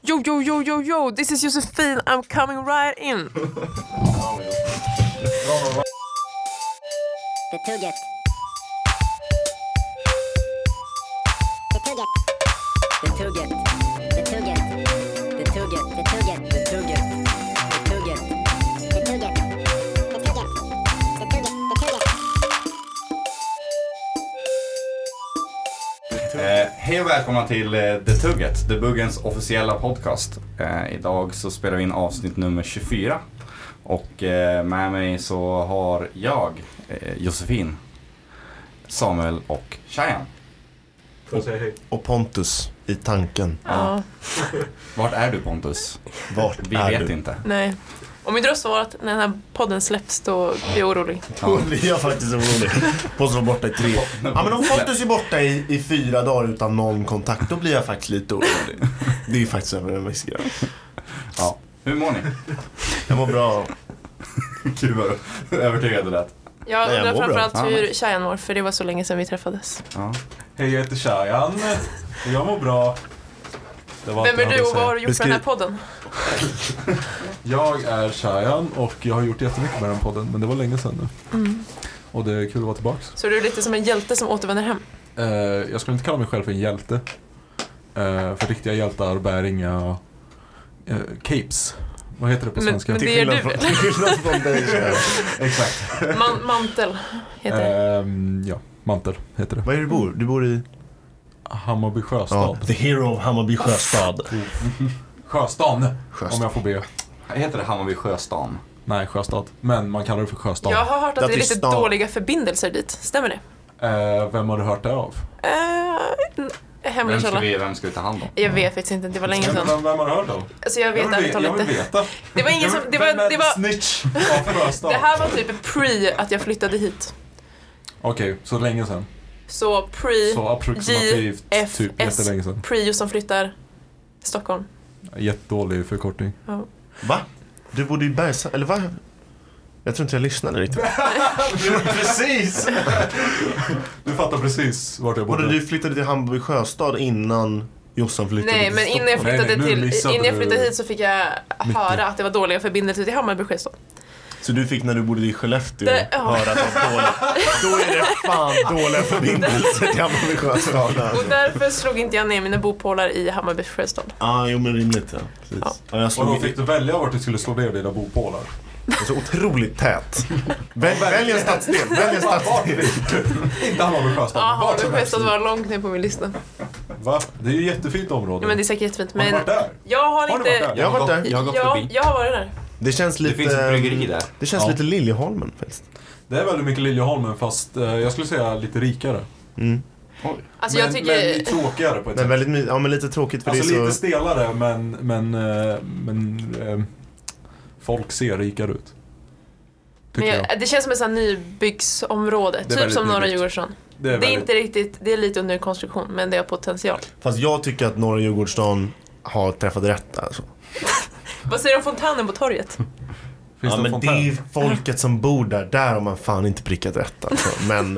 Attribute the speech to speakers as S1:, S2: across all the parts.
S1: Yo, yo, yo, yo, yo, this is Josefin, I'm coming right in.
S2: Betugget. Betugget. Betugget. Betugget. Betugget. Betugget. Betugget. Betugget. Betugget. Betugget. Betugget. Betugget.
S3: Eh, hej och välkomna till eh, The Tugget, The Buggens officiella podcast. Eh, idag så spelar vi in avsnitt nummer 24. Och eh, med mig så har jag eh, Josefin, Samuel och Shayan.
S4: Får jag säga hej?
S5: och Pontus i tanken.
S1: Ja,
S3: Vart är du Pontus?
S5: Vart
S3: Vi
S5: är
S3: vet
S5: du?
S3: inte.
S1: nej. Om inte du har svarat när den här podden släpps då blir jag orolig.
S5: Då blir jag faktiskt orolig. Pontus var borta i tre. Ja men om Pontus är borta i, i fyra dagar utan någon kontakt, då blir jag faktiskt lite orolig. Det är faktiskt över en viss gräns.
S3: Ja. Hur mår ni?
S5: Jag mår bra.
S3: Gud vad övertygad du lät.
S1: Jag
S5: Nej, jag
S1: undrar
S5: mår bra.
S1: framförallt
S3: Ja,
S1: hur Shayan mår, för det var så länge sedan vi träffades.
S3: Ja.
S4: Hej, jag heter Shayan. Och jag mår bra. Det var
S1: Vem
S4: allt jag
S1: är
S4: hade
S1: du
S4: att
S1: och vad
S4: säga.
S1: har du gjort med
S5: Beskriv-
S1: den här podden?
S4: Jag är Shayan och jag har gjort jättemycket med den podden, men det var länge sedan nu. Och det är kul att vara tillbaka.
S1: Mm. Så du är lite som en hjälte som återvänder hem.
S4: Eh, jag skulle inte kalla mig själv för en hjälte. Eh, för riktiga hjältar bär inga eh, capes. Vad heter det på
S1: Men-
S4: svenska?
S1: men det- är
S5: Skillnad
S1: du,
S5: från,
S1: eller?
S5: till skillnad från dig så här.
S4: Exakt.
S1: Man, mantel heter det.
S4: Ehm, ja, mantel heter det.
S5: Var är du bor? Du bor i?
S4: Hammarby
S5: Ja,
S4: sjöstad.
S5: the hero of Hammarby sjöstad.
S4: Sjöstan,
S5: Sjöstad.
S4: Eh, om jag får be.
S3: Heter det Hammarby Sjöstan?
S4: Nej, sjöstad. Men man kallar det för sjöstad.
S1: Jag har hört att
S5: Där
S1: det är
S5: blir
S1: lite
S5: stan.
S1: dåliga förbindelser dit, stämmer det? Eh,
S4: Eh, vem har du hört det av?
S1: Uh, hemlig
S3: Vem ska,
S1: källa.
S3: vi, vem ska vi ta hand om?
S1: Jag vet faktiskt inte, det var länge sedan.
S4: vem har du hört av?
S1: Alltså jag vet ärligt talat inte.
S4: veta.
S1: Det var ingen som, det var, det var,
S4: snitch av Sjöstad?
S1: det här var typ pre att jag flyttade hit.
S4: Okej, så länge sedan.
S1: Så pre,
S4: Så approximativt
S1: JFS.
S4: typ jättelänge sedan.
S1: pre som flyttar Stockholm.
S4: Jättedålig förkortning.
S5: Va? Du bodde i Bergsa... Eller va? Jag tror inte jag lyssnade riktigt.
S4: precis! Du fattar precis vart jag
S5: Både du flyttade till Hammarby sjöstad innan Jossan flyttade
S1: Nej
S5: till
S1: men innan jag
S5: Stockholm.
S1: flyttade,
S4: Nej, nej, nu
S1: till,
S4: missade
S1: innan jag flyttade
S4: du
S1: hit så fick jag
S4: mycket.
S1: höra att det var dåliga förbindelser till Hammarby Sjöstad.
S5: Så du fick när du bodde i Skellefteå
S1: Det- ja.
S5: höra att det var dåligt. Då är det fan dåliga förbindelser till Hammarby sjöstad.
S1: Och
S5: alltså.
S1: därför slog inte jag ner mina bopålar i Hammarby Sjöstad.
S5: Ja, jo men rimligt ja. Precis.
S1: Ja.
S5: Ja.
S4: Och
S5: jag
S4: då
S5: slog
S4: fick
S5: i,
S4: du välja vart du skulle slå ner dina bopålar.
S5: så otroligt tät. Välj, välj en stadsdel, välj en stadsdel.
S4: Inte Hammarby Sjöstad,
S1: Ja,
S4: vart som
S1: Hammarby
S4: helst.
S1: Sjöstad var långt ner på min lista.
S4: Va? Det är ju ett jättefint område.
S1: Ja, men det är säkert jättefint.
S4: Har du
S1: Men
S4: varit där?
S1: jag har
S4: Har du varit
S1: inte...
S4: där?
S5: Jag har varit där.
S3: Jag har gått
S1: Ja,
S3: förbi.
S1: jag har varit där.
S5: Det känns
S3: Det
S5: lite... eh,
S3: finns ett bryggeri där.
S5: Det känns
S4: Ja.
S5: lite Liljeholmen faktiskt.
S4: Det är väldigt mycket Liljeholmen fast eh, jag skulle säga lite rikare.
S1: Alltså
S4: men,
S1: jag
S4: men
S1: tycker...
S4: lite tråkigare på ett
S5: Men
S4: sätt.
S5: väldigt my- ja men lite tråkigt för
S4: Alltså
S5: det är
S4: lite
S5: så...
S4: stelare men, men, eh, men eh, folk ser rikare ut.
S1: Men
S4: Tycker jag.
S1: jag, det känns som ett sånt här nybyggsområde,
S4: är
S1: typ
S4: väldigt
S1: som Norra
S4: nybyggt.
S1: Djurgården.
S4: Det
S1: Det
S4: är
S1: är,
S4: väldigt...
S1: inte riktigt, det är lite under konstruktion, men det har potential.
S5: Fast jag tycker att norra Djurgårdsstaden har träffat rätt alltså.
S1: Vad säger du om fontänen på torget?
S4: Finns
S5: ja,
S4: det en
S5: men det
S4: fontän?
S5: är ju folket som bor där. Där har man fan inte prickat rätt alltså. Men,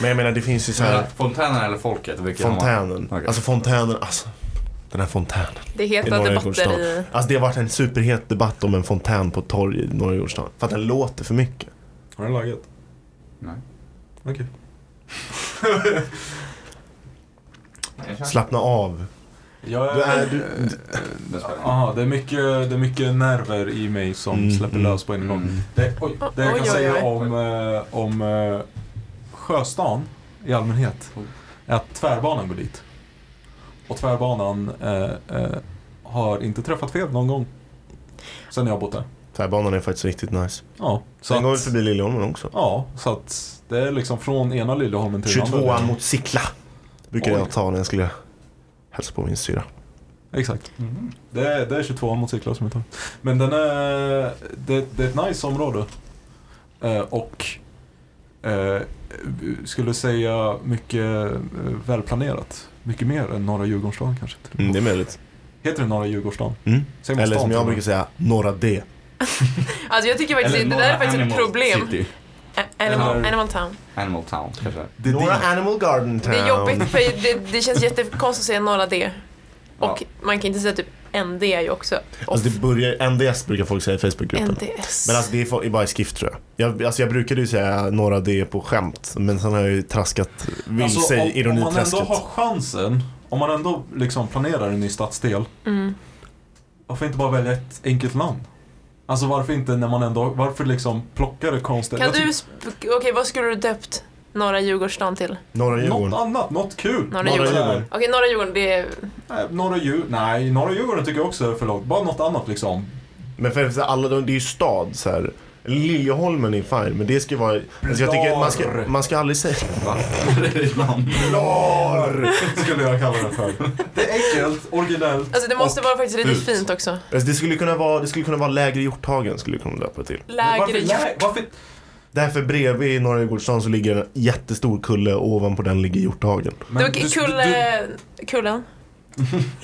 S5: men jag menar, det finns ju så här
S3: Fontänen eller folket? Vilket har man-
S5: fontänen.
S3: Okej.
S5: Alltså fontänen, alltså. Den här fontänen.
S1: Det är
S5: I
S1: heta
S5: norra
S1: debatter
S5: Djurgårdsstaden.
S1: i...
S5: Alltså det har varit en superhet debatt om en fontän på ett torg i norra Djurgårdsstaden. För att den låter för mycket.
S4: Har den lagat?
S3: Nej.
S4: Okej.
S5: Slappna av.
S4: Jag
S5: Du är-
S4: är...
S5: du-
S4: eh,
S3: Det spelar ingen roll.
S4: Aha, det är, mycket, det är mycket nerver i mig som
S5: Mm,
S4: släpper
S5: mm,
S4: lös på en gång.
S3: Mm.
S4: Det, oj, det jag
S1: Oj,
S4: kan
S1: oj,
S4: säga
S1: oj.
S4: om, eh, om eh, Sjöstan i allmänhet är att tvärbanan går dit. Och tvärbanan eh, eh, har inte träffat fel någon gång sen jag har bott där.
S5: Tvärbanan är faktiskt riktigt nice.
S4: Ja, så
S5: Sen går vi
S4: att,
S5: förbi Liljeholmen också.
S4: ja, så att det är liksom från ena Liljeholmen till den andra.
S5: 22an mot Sickla. Brukar
S4: Oj.
S5: jag ta när jag skulle hälsa på min syra.
S4: Exakt. Det, är, det är 22 mot cyklar som jag tar. Men den är, det, det är ett nice område. Eh, och eh, skulle säga mycket eh, välplanerat. Mycket mer än norra Djurgårdsstaden kanske. till och med.
S5: Mm, det är möjligt.
S4: Heter det norra Djurgårdsstaden?
S5: Mm.
S4: Säg mot
S5: Eller
S4: stan,
S5: som
S4: tror
S5: jag brukar säga, norra D.
S1: Alltså jag tycker faktiskt det
S3: Eller
S1: där är
S3: Norra
S1: faktiskt ett
S3: Animal
S1: problem.
S3: City.
S1: A- Animal,
S4: Eller-
S1: animal Town.
S3: Animal Town kanske.
S4: Det är
S5: Norra
S4: dit.
S5: Animal Garden Town.
S1: Det är jobbigt för det, det känns jättekonstigt att säga norra D. Och man kan inte säga typ ND är ju också off.
S5: Alltså det börjar, NDS brukar folk säga i Facebookgruppen.
S1: NDS.
S5: Men alltså det är fo- är bara i skrift tror jag. Jag, alltså jag brukade ju säga några D på skämt, men sen har jag ju traskat vilse
S4: Alltså, om,
S5: i
S4: om man ändå
S5: ironiträsket.
S4: har chansen, om man ändå liksom planerar en ny stadsdel,
S1: mm.
S4: varför inte bara välja ett enkelt namn? Alltså varför inte när man ändå, varför liksom plocka det konstiga?
S1: Kan
S4: Jag
S1: du, sp- okej vad skulle du döpt Norra Djurgårdsstaden till?
S5: Norra
S4: tycker-
S5: Djurgården.
S4: Något annat, något kul.
S1: Norra
S5: Norra
S1: Djurgården.
S5: Djurgården.
S1: Okej, Norra Djurgården, det är...
S4: Nej, Norra Djurgården, nej, Norra Djurgården tycker jag också är för långt. Bara något annat liksom.
S5: Men för för alla, de- det är ju stad så här. Liljeholmen är fine, men det ska ju vara... Alltså jag tycker att man ska, man ska aldrig säga...
S3: Va? Det är namn.
S5: Blar!
S4: Skulle jag kalla det för. Det är enkelt, originellt.
S1: Alltså det måste vara faktiskt lite
S4: fult.
S1: fint också.
S5: Alltså det, skulle kunna vara, det skulle kunna vara Lägre Hjorthagen, skulle jag kunna döpa det till.
S1: Lägre
S4: varför, nej, varför,
S5: Därför bredvid i Norra Djurgårdsstaden så ligger en jättestor kulle och ovanpå den ligger Hjorthagen.
S1: Det
S4: men
S1: var eh.
S4: du-
S1: kulle, kullen.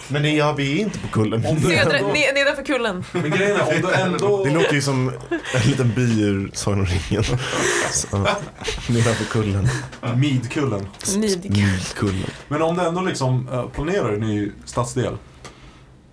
S5: Men det, ja, vi är inte på kullen.
S4: Om du-
S1: Södra,
S4: ändå-
S1: ne- nedanför kullen.
S4: du- Men grejen är, om du ändå...
S5: Det låter ju som en liten by ur Sagan om ringen. Så, Nedanför kullen.
S4: Midkullen.
S1: Nidkullen.
S5: Midkullen.
S4: Men om du ändå liksom eh, planerar en ny stadsdel.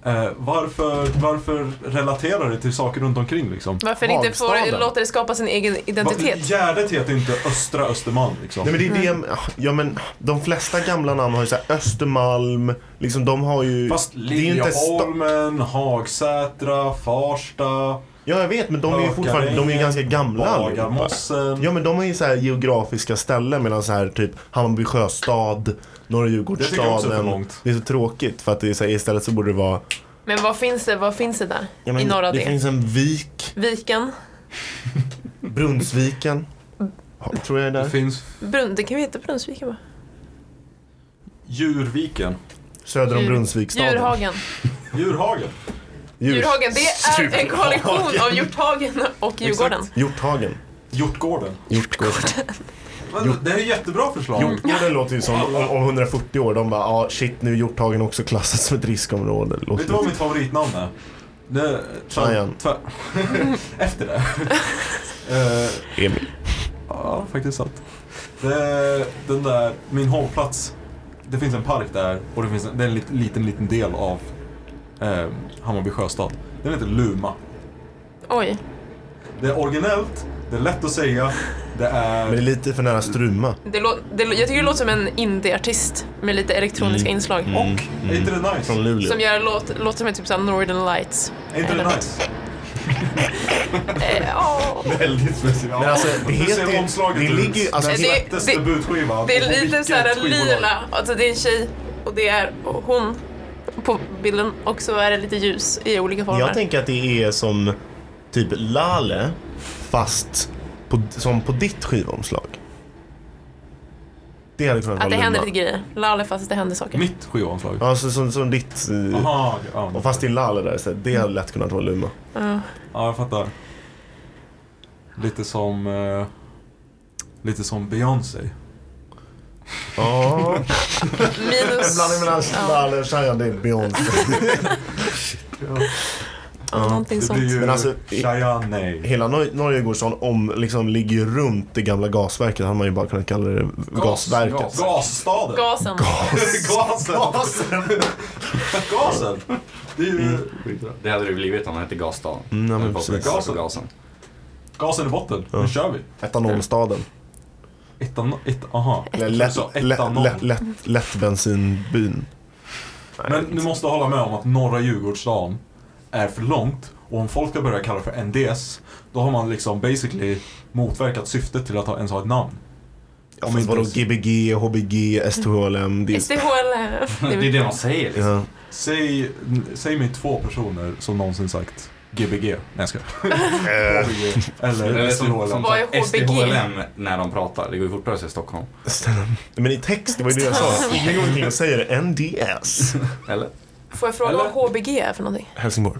S4: eh, Varför, varför relaterar det till saker runt omkring liksom?
S1: Varför inte få
S5: Hagstaden.
S1: låta det skapa sin egen
S4: Varför-
S1: identitet?
S4: Gärdet heter inte Östra Östermalm liksom.
S5: Nej men det är det, jag- ja men de flesta gamla namn har ju såhär Östermalm, liksom de har ju...
S4: Fast
S5: det är ju inte sta-
S4: Liljeholmen, Hagsätra, Farsta,
S5: Ja jag vet men de är ju fortfarande, de är ju ganska gamla allihopa.
S4: Bagarmossen.
S5: Ja men de är ju såhär geografiska ställen medan såhär typ Hammarby sjöstad, Norra
S4: Det tycker jag också är för
S5: Djurgårdsstaden.
S4: långt.
S5: Det är så tråkigt för att det är så här, istället så borde det vara...
S1: Men vad finns det, vad finns det där?
S5: Ja, men
S1: I norra
S5: det
S1: del?
S5: finns en vik,
S1: Viken?
S5: Brunnsviken. Ja, Tror jag är
S4: Det
S5: där.
S4: finns
S1: Brunn, det kan vi heta Brunnsviken va?
S4: Djurviken.
S5: Söder om
S1: Djur-
S5: Brunnsvikstaden.
S1: Djurhagen.
S4: Djurhagen.
S5: Djur-
S1: Djurhagen, det är en
S5: Djurhagen.
S1: kollektion av Hjorthagen och Djurgården.
S5: Hjorthagen.
S4: Hjortgården.
S5: Hjortgården.
S4: Men
S5: Hjort-
S4: Det är ju jättebra förslag.
S5: Hjortgården låter ju som om, om 140 år. De bara, ah, shit nu är Hjorthagen också klassat som ett riskområde. Det
S4: Vet
S5: Låter
S4: du vad mitt favoritnamn är? Det,
S5: Trajan.
S4: tvär- Efter det. Eh,
S5: Emil.
S4: Ja, faktiskt sant. Det, den där, min hållplats. Det finns en park där och det finns en, det är en liten, liten, liten del av eh, Hammarby sjöstad. Den heter Luma.
S1: Oj.
S4: Det är originellt, det är lätt att säga, det
S5: Men det är
S4: är...
S5: lite för nära Struma.
S1: Det lå- det, lå- jag tycker det låter som en indieartist med lite elektroniska
S5: Mm.
S1: inslag.
S4: Och, är inte det nice?
S5: Från Luleå.
S1: Som gör låt, låter som en typ såhär Northern Lights.
S4: Är inte det nice?
S1: Eh, ja.
S3: Väldigt
S5: Men
S3: speciellt.
S5: alltså det
S4: Hur ser
S5: heter ju...
S4: omslaget
S5: Det
S4: ut?
S5: ligger ju... Alltså,
S1: Nej,
S5: det,
S1: det-
S4: Släpptes debutskivan.
S1: Det
S4: Och
S1: är lite
S4: vilket
S1: såhär
S4: skivbolag.
S1: lila, alltså det är en tjej och det är hon på bilden och så är det lite ljus i olika former.
S5: jag tänker att det är som typ Lale, fast på, som på ditt skivomslag. Det hade kunnat vara
S1: att det händer
S5: Luma.
S1: lite grejer. Lale fast det händer saker.
S4: Mitt skivomslag.
S5: Ja, alltså, som, som ditt... eh,
S4: Aha, ja.
S5: Och fast det är Lale där istället. Det hade lätt kunnat vara Luma.
S1: Ja.
S4: Ja, jag fattar. Lite som... eh, lite som Beyoncé.
S5: Ja.
S1: Minus...
S5: Blandning mellan
S1: Ja.
S5: Lale och Shayan, det är Beyoncé.
S1: Ja, någonting
S4: Det
S1: sånt.
S4: blir ju
S5: Men alltså, i-
S4: Cheyenne.
S5: Hela Nor- Norge går sån om, liksom ligger ju runt det gamla gasverket. Hade man ju bara kunnat kalla det gasverket.
S3: gas.
S4: Gasstaden.
S1: Gasen.
S4: Gasen. Gasen. Det är ju...
S3: Det hade det blivit om det hette Gasstaden.
S5: Mm, ja, men
S3: Eller
S5: precis.
S3: Gasen. på gasen.
S4: Gasen i botten.
S5: Ja.
S4: Nu kör vi.
S5: Etanolstaden.
S4: Ettan... Ett, aha.
S5: Eller lätt,
S4: Så,
S5: lätt,
S4: etanol.
S5: lätt, lätt, lättbensinbyn. Nej,
S4: Men du måste hålla med om att norra Djurgårdsstaden är för långt. Och om folk ska börja kalla det för NDS, då har man liksom basically motverkat syftet till att ha, ens ha ett namn.
S5: ja,
S4: om
S5: men
S4: inte
S5: vadå
S4: ens-
S5: Gbg, HBG, STHLM. Det är,
S1: SDHL.
S3: Det är det man säger. Liksom.
S5: ja.
S4: Säg, säg mig två personer som någonsin sagt Gbg. Nej jag skojar.
S5: Eh,
S4: HBG. Eller
S3: Eller som,
S4: SDHLM.
S3: som
S1: Vad är HBG?
S3: SDHLM när de pratar. Det går ju fortare att säga Stockholm.
S5: stäm- men i text, det var ju det jag sa. Ingen går omkring och säger NDS.
S3: Eller?
S1: Får jag fråga
S4: Eller-
S1: vad HBG är för någonting?
S5: Helsingborg.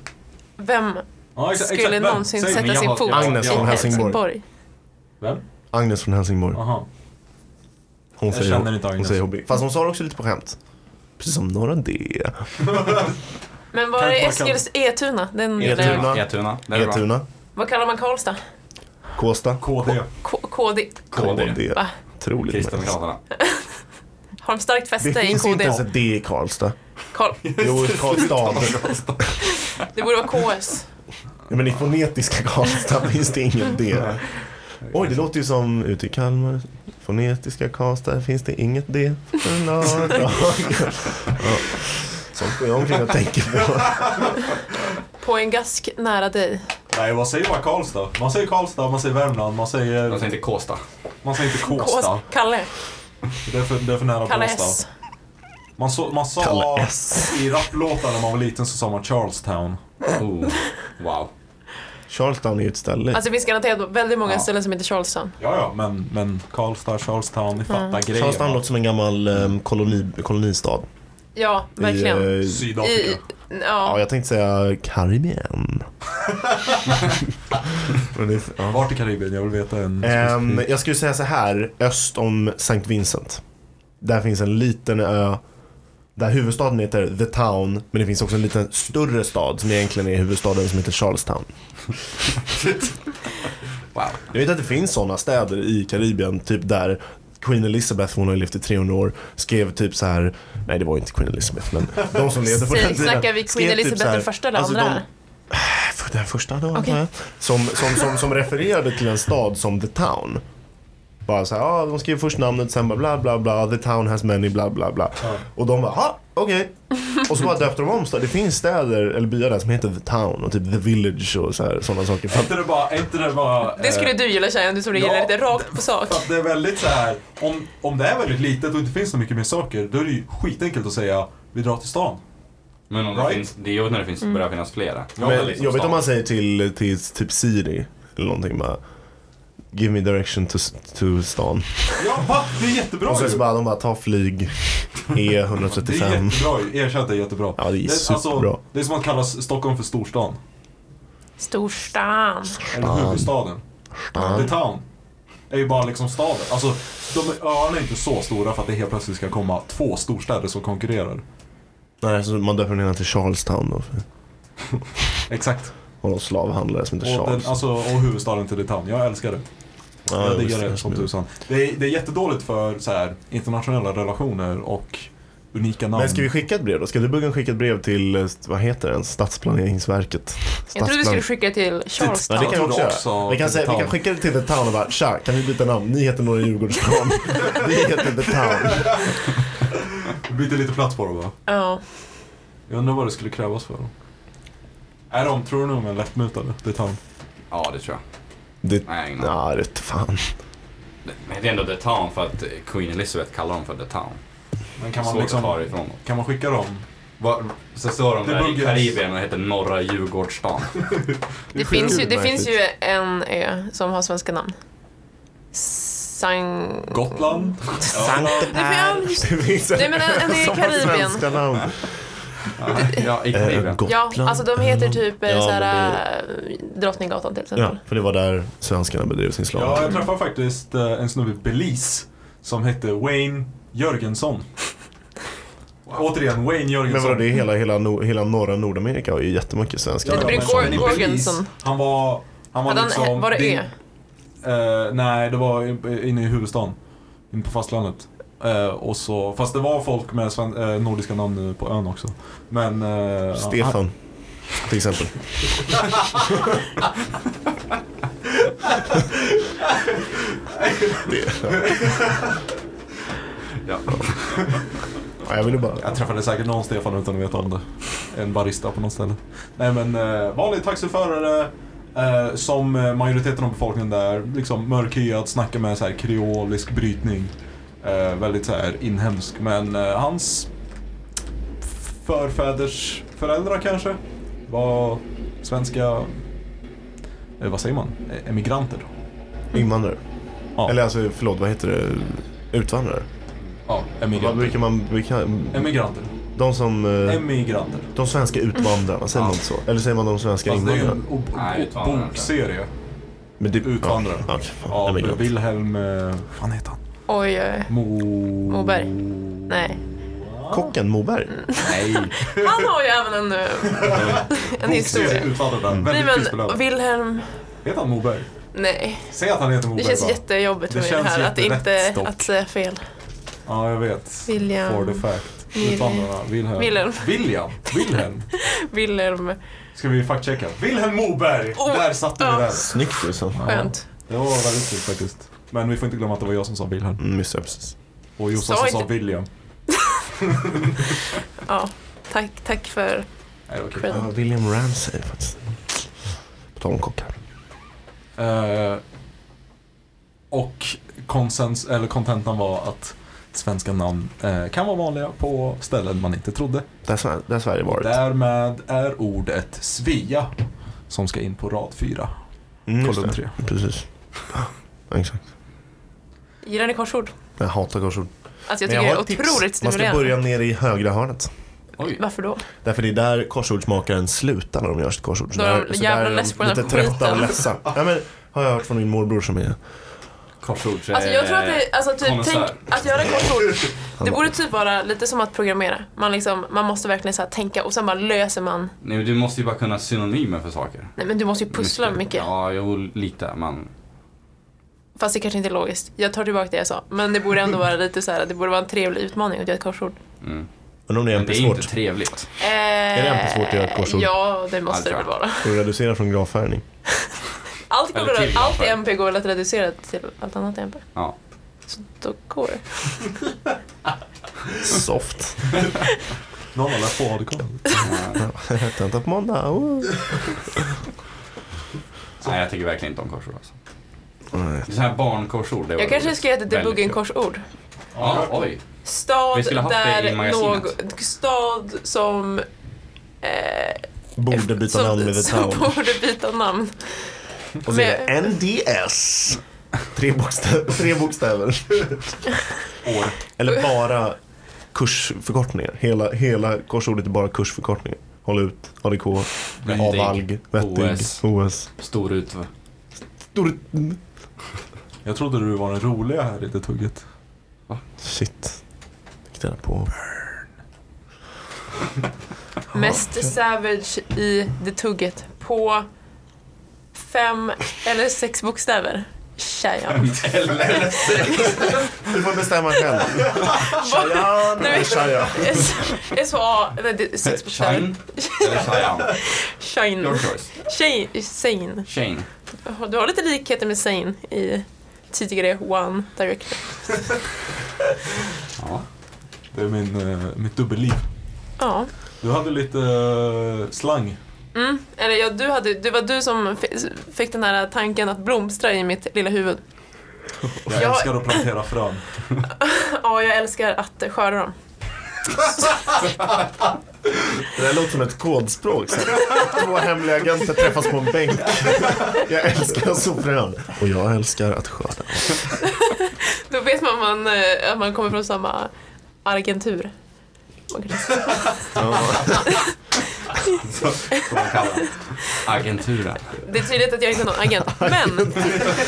S1: Vem
S4: Ja, exakt,
S1: skulle
S4: exakt. Vem?
S1: någonsin
S4: Säg mig.
S1: sätta
S3: jag
S1: sin
S3: har-
S1: fot
S3: jag-
S5: Agnes
S1: i
S5: från Helsingborg.
S1: Helsingborg?
S4: Vem?
S5: Agnes från Helsingborg.
S4: Aha.
S5: Hon
S4: Jag
S5: säger,
S4: känner inte
S5: hon
S4: Agnes.
S5: säger HB. Fast hon sa det också lite på skämt. Precis som Norra D.
S1: Men var
S4: Kan
S1: är
S4: jag bara kalla-
S1: Eskils E-tuna? Den
S5: E-tuna.
S1: gillar jag.
S3: Etuna. Det är bra.
S5: Etuna.
S1: Vad kallar man Karlstad?
S5: Kåsta.
S4: KD.
S1: K- KD?
S3: KD.
S5: KD.
S1: Va?
S5: Otroligt nice.
S3: Kristdemokraterna.
S1: Har de starkt
S5: Det
S1: fäste i
S5: finns
S1: KD?
S5: inte ens ett D i Karlstad.
S1: Karl.
S5: Jo, Karlstad.
S1: Det borde vara KS.
S5: Ja, men i fonetiska Karlstad finns det inget D. Oj, det låter ju som ute i Kalmar. Fonetiska Karlstad finns det inget D. för lördag. Ja. Sånt går jag omkring och tänker på.
S1: På en gask nära dig.
S4: Nej, vad säger man Karlstad? Man säger Karlstad, man säger Värmland, man säger...
S3: Jag tänkte Kåsta.
S4: Man säger inte
S1: KS.
S4: Kåsta.
S1: Kalle.
S4: Det är för, det är för nära
S1: Kalle
S4: Båstad.
S1: S.
S4: Man, så, man sa...
S5: Kalle S.
S4: I rapplåtar när man var liten så sa man Charlestown.
S3: Oh, wow.
S5: Charlestown är ju ett ställe.
S1: Alltså det finns garanterat väldigt många
S4: Ja.
S1: ställen som heter Charleston.
S4: Ja, ja, men, men Karlstad, Charlestown, ni fattar
S1: Mm.
S4: grejen.
S5: Charlestown låter som en gammal um, koloni, kolonistad.
S1: Ja, verkligen.
S5: I, eh,
S1: I,
S4: Sydafrika.
S5: ja,
S1: ja.
S5: jag tänkte säga Karibien. Men det, ja.
S4: Vart i Karibien? Jag vill veta en
S5: Ehm,
S4: specifik-
S5: jag skulle säga så här, öst om St. Vincent. Där finns en liten ö där huvudstaden heter The Town, men det finns också en liten större stad som egentligen är huvudstaden som heter Charlestown.
S3: wow.
S5: Jag vet att det finns sådana städer i Karibien, typ där Queen Elizabeth, hon har ju levt i 300 år, skrev typ så här. nej det var ju inte Queen Elizabeth men de som levde på den
S1: Säg,
S5: tiden.
S1: snackar vi
S5: skrev
S1: Queen
S5: typ så
S1: Elizabeth
S5: här-
S1: den första eller
S5: alltså,
S1: andra?
S5: de- För Den första då, antar
S1: Okej.
S5: jag. som, som, som, som refererade till en stad som The Town. Bara så här, ah, de skrev först namnet, sen bara bla bla bla, The Town has many bla bla bla.
S4: Ja.
S5: Och de bara, ha, okej. Och så bara döpte de om staden. Det finns städer eller byar där som heter The Town och typ The Village och så här, sådana saker.
S4: Är
S5: För
S4: inte det bara... är Inte det, bara
S1: Det skulle
S4: eh,
S1: du gilla tjejen, du som
S4: ja.
S1: gillar lite rakt på sak.
S4: För att det är väldigt så här, om, om det är väldigt litet och inte finns så mycket mer saker, då är det ju skitenkelt att säga vi drar till stan.
S3: Men om det,
S4: Right.
S3: finns, det är jobbigt när det finns,
S1: Mm.
S3: börjar finnas flera. liksom
S4: Ja, liksom
S5: men
S4: det är
S5: jag vet om man säger till, till typ Siri eller någonting bara, give me direction to, to stan.
S4: Ja, va? Det är jättebra
S5: Och sen
S4: ju!
S5: så bara, de bara, ta flyg E
S4: Det är
S5: E135.
S4: jättebra ju, erkänn att det är jättebra.
S5: Ja, det är superbra.
S4: det är som att kalla Stockholm för storstan.
S1: Storstan.
S4: Eller huvudstaden. The town. Är ju bara liksom staden. Alltså, de öarna är inte så stora för att det helt plötsligt ska komma två storstäder som konkurrerar.
S5: Nej, så man döper den ena till Charlestown då. för-
S4: Exakt.
S5: Och någon slavhandlare som heter
S4: Och, den,
S5: Charles.
S4: alltså, och huvudstaden till The town. Jag älskar det.
S5: Ja,
S4: jag
S5: just
S4: diggar det som tusan. Det är, det är jättedåligt för så här, internationella relationer och unika namn.
S5: Men ska vi skicka ett brev då? Ska debuggen skicka ett brev till, eh, vad heter den, Stadsplaneringsverket?
S1: Jag trodde du skulle
S5: Stadsplan-
S1: skicka till
S5: Ja, det
S1: Charleston.
S5: kan vi
S4: Jag
S5: också
S4: trodde
S5: göra.
S4: också
S5: vi, kan
S4: till
S5: säga, vi
S4: Town.
S5: kan skicka det till The Town och bara tja, kan vi byta namn? Ni heter några Djurgårdsplan. vi heter The Town.
S4: Vi byter lite plats på dem va?
S1: Ja.
S4: Jag undrar vad det skulle krävas för dem. Är de, tror du, de är lättmutade? The town.
S3: Ja, det tror jag.
S5: Det,
S3: Nej, ingen aning.
S5: ja, det fan.
S3: Det- Men det är ändå The Town för att Queen Elizabeth kallar dem för The Town.
S4: Men kan man,
S3: Svårt att ta det
S4: liksom,
S3: ifrån dem.
S4: kan man skicka dem?
S3: Va- Så står de
S4: Det
S3: där i
S4: buggas.
S3: Karibien och heter Norra Djurgårdsstan.
S1: Det, finns ju, det
S5: sjukt
S1: finns ju en ö som har svenska namn. Sang...
S4: Gotland?
S5: Sankte Per. Det finns en
S1: Nej, men en- en i
S5: som har
S1: Karibien.
S5: svenska namn.
S3: ja, i
S5: Eh,
S3: Karibien.
S1: Ja,
S5: Gotland.
S1: alltså de heter typ eh,
S5: Ja,
S1: så
S5: men det-
S1: här, eh, Drottninggatan till exempel.
S5: Ja, för det var där svenskarna bedrev sin slav.
S4: Ja, jag träffade faktiskt eh, en snubbe i Belize som hette Wayne Jörgensson. Återigen, Wayne
S5: Men
S4: Jörgensson.
S5: vadå, det är hela, hela, no- hela norra Nordamerika har ju jättemycket svenskar.
S1: Det blir
S4: men-
S1: Gor-
S4: men i Belize,
S1: Gorgenson.
S4: Han var... Han var
S1: Hade han-
S4: liksom...
S1: var det
S4: din-
S1: Ö?
S4: Eh, nej, det var i- inne i huvudstaden. Inne på fastlandet. Eh, och så, fast det var folk med sven, eh, nordiska namn nu på ön också. Men... eh, Han,
S5: Stefan, till exempel.
S3: Ja.
S5: Ja, jag ville bara...
S4: jag träffade säkert någon Stefan utan att veta om det. En barista på något ställe. Nej men eh, vanlig taxiförare. Eh, som eh, majoriteten av befolkningen där. Liksom mörkhyad, snackar med så här kreolisk brytning. Eh, väldigt så här inhemsk. Men eh, hans förfäders föräldrar kanske var svenska... Eh, vad säger man? Eh, Emigranter.
S5: Invandrare.
S4: Ja.
S5: Eller alltså, förlåt, vad heter det? Utvandrare?
S4: Ja,
S5: Vad
S4: emigranter.
S5: brukar man... Brukar,
S4: Emigranter.
S5: de som... eh,
S4: Emigranter.
S5: De svenska utvandrarna, säger man inte så? Eller säger man de svenska
S4: Fast det är ju
S5: invandrarna?
S4: en ob-
S3: Nej,
S4: ob-
S3: utvandrare.
S4: bokserie
S5: Men det,
S4: utvandrare.
S5: Ja, okej, fan,
S4: av
S5: emigranter.
S4: Wilhelm... eh, Vad fan heter han?
S1: Oj, oj.
S4: Mo...
S1: Moberg. Nej.
S5: Kocken Moberg?
S3: Nej.
S1: Han har ju även en, eh, en historia.
S4: Bokserie utvandrare.
S1: Nej
S4: Väldigt
S1: men
S4: prisbelönad.
S1: Wilhelm,
S4: Heter han Moberg?
S1: nej.
S4: Säg att han heter
S1: Det
S4: Moberg
S1: känns
S4: bara.
S1: jättejobbigt
S4: Det
S1: för mig det
S4: känns
S1: här att
S4: jätterätt
S1: inte
S4: dock.
S1: att säga fel.
S4: Ja, jag vet.
S1: William.
S4: For the fact. Hur fan var det? Wilhelm.
S1: Wilhelm.
S4: William. Wilhelm.
S1: Wilhelm.
S4: Ska vi fackchecka? Wilhelm Moberg!
S1: Oh,
S4: Där satte vi
S1: ja.
S4: den.
S5: Snyggt Wilson.
S1: Skönt.
S4: Det var väldigt kul faktiskt. Men vi får inte glömma att det var jag som sa Wilhelm.
S5: Mm, missade jag precis.
S4: Och Jossan
S1: Sa
S4: som sa
S1: inte-
S4: William.
S1: Ja, tack, tack för
S4: Nej, det var kul.
S1: cred.
S5: Ja, William Ramsay faktiskt. På tal om kockar.
S4: Eh, och konsens, eller kontentan var att svenska namn eh, kan vara vanliga på ställen man inte trodde.
S5: Där, Sver- där Sverige varit.
S4: Därmed är ordet Svea som ska in på rad fyra.
S5: Mm, just
S4: kolumn
S5: det.
S4: tre.
S5: Precis. Ja, exakt.
S1: Gillar ni korsord?
S5: Jag hatar korsord.
S1: Alltså jag
S5: Men
S1: tycker
S5: har
S1: det är
S5: ett tips.
S1: otroligt
S5: Man ska börja
S1: stimulerande.
S5: nere i högra hörnet.
S1: Varför då?
S5: Därför det är där korsordsmakaren slutar när de gör sitt korsord. Så
S1: Då är de
S5: där- så
S1: jävla
S5: där är
S1: less på den
S5: lite
S1: här
S5: trötta och
S1: skiten.
S5: ledsa. Ja, men, har jag hört från min morbror som är...
S3: Korsord.
S1: Alltså jag tror att det, alltså typ, tänk
S3: konnässör.
S1: att göra korsord,
S5: Han
S1: det
S5: bara,
S1: borde typ vara lite som att programmera. Man, liksom, man måste verkligen så här tänka och sen bara löser man.
S3: Nej, men du måste ju bara kunna synonymer för saker.
S1: Nej men du måste ju pussla mycket.
S3: Ja, jo, lite. Man...
S1: Fast det kanske inte är logiskt. Jag tar tillbaka det jag sa. Men det borde ändå vara lite så här, det borde vara en trevlig utmaning att göra ett korsord.
S3: Mm.
S5: Undrar om det är
S3: Men det är inte
S5: MP-svårt.
S3: trevligt. alltså.
S1: Eh, är
S5: det alltid svårt att göra ett korsord?
S1: Eh, Ja, det måste det
S3: Ja, det
S1: väl
S3: tror
S1: vara.
S5: Och reducera från gravfärgning.
S1: Allt, går
S3: Eller
S1: väl-
S3: till
S1: allt i
S3: varför?
S1: MP går väl att reducera till allt annat i MP?
S3: Ja.
S1: Så då går det.
S5: Soft.
S4: Någon har lärt på ADK.
S3: Eh,
S5: Tenta på måndag. Oh.
S3: Nej, jag tycker verkligen inte om korsord. Alltså.
S5: Nej.
S3: Det är så här barnkorsord. Det var
S1: Jag kanske
S3: roligt.
S1: ska heta
S3: Väldigt
S1: debuggen
S3: kul.
S1: korsord.
S3: Ja, oj. Vi
S1: Stad
S3: skulle haft det i
S1: där
S3: magasinet.
S1: någon... Stad som... Eh,
S5: Borde byta
S1: som,
S5: namn med The
S1: Som
S5: Town.
S1: borde byta namn.
S5: Och så är det NDS. Tre, bokstäver. tre bokstäver.
S4: År.
S5: Eller bara kursförkortningar. Hela, hela korsordet är bara kursförkortningar. Håll ut, ADK,
S3: Vettig,
S5: avalg, vettig,
S3: OS.
S5: OS.
S3: Stor ut. va?
S5: Stor...
S4: Jag trodde du var den roliga här i det tugget.
S5: Shit. Fick reda på.
S1: Mest savage i det tugget på fem eller sex bokstäver. Shayan.
S3: Eller
S5: Du får bestämma själv. Shayan
S1: Nej,
S5: eller
S1: men-
S5: Shayan?
S1: S- S-A, nej det är sex bokstäver.
S3: Eh, Shine. Eller Shayan.
S1: Shine.
S3: Your choice.
S1: Shane. Shane.
S3: Shane.
S1: Du har lite likheter med Shane i tidigare One Direction.
S3: Ja.
S4: Det är min, eh, mitt dubbelliv.
S1: Ja.
S4: Du hade lite eh, slang.
S1: Mm. Eller ja, du hade, det var du som fi- fick den här tanken att blomstra i mitt lilla huvud.
S4: Jag
S1: Jag-
S4: älskar att plantera frön.
S1: Ja, jag älskar att eh, skörda dem.
S5: Det där låter som ett kodspråk. Så. Två hemliga agenter träffas på en bänk. Jag älskar sopran. Och jag älskar att skörda.
S1: Då vet man, man eh, att man kommer från samma agentur. Man kan säga.
S3: Så får man kalla det. Agenturen.
S1: Det är tydligt att jag inte är någon agent. Men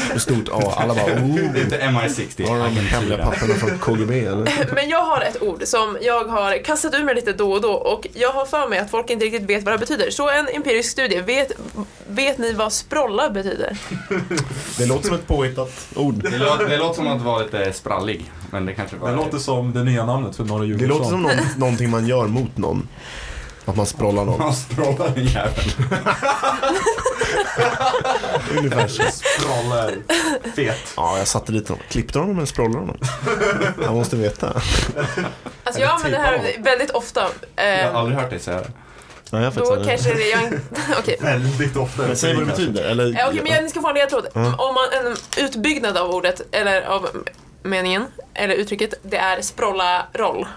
S5: Med stort A. Alla bara oh.
S3: Det är inte MI6,
S5: Har de de hemliga papperna från KGB eller?
S1: Men jag har ett ord som jag har kastat ur mig lite då och då och jag har för mig att folk inte riktigt vet vad det här betyder. Så en empirisk studie, vet, vet ni vad sprolla betyder?
S5: Det låter som ett påhittat ord.
S3: Det, lå- det låter som att vara lite sprallig. Men det kanske bara...
S4: Det låter som det nya namnet för norra
S5: Det
S4: Djurgården.
S5: låter som någon, någonting man gör mot någon. Att man sprollar någon.
S3: Man strålar en jävel.
S5: Ungefär så.
S4: Sprallar. Fet.
S5: Ja, jag satte dit honom. Klippte honom eller sprollade honom? Jag måste veta.
S1: Alltså jag använder det här
S4: typ
S1: väldigt ofta. Eh,
S3: Jag har aldrig hört dig säga det.
S5: Ja, jag
S1: då kanske det jag inte... Okej,
S4: Väldigt ofta.
S5: Men säg vad det betyder. Eller,
S1: Eh, okej, men jag- ni ska få en ledtråd.
S5: Mm.
S1: Om man, en utbyggnad av ordet, eller av m- meningen, eller uttrycket, det är sprolla roll.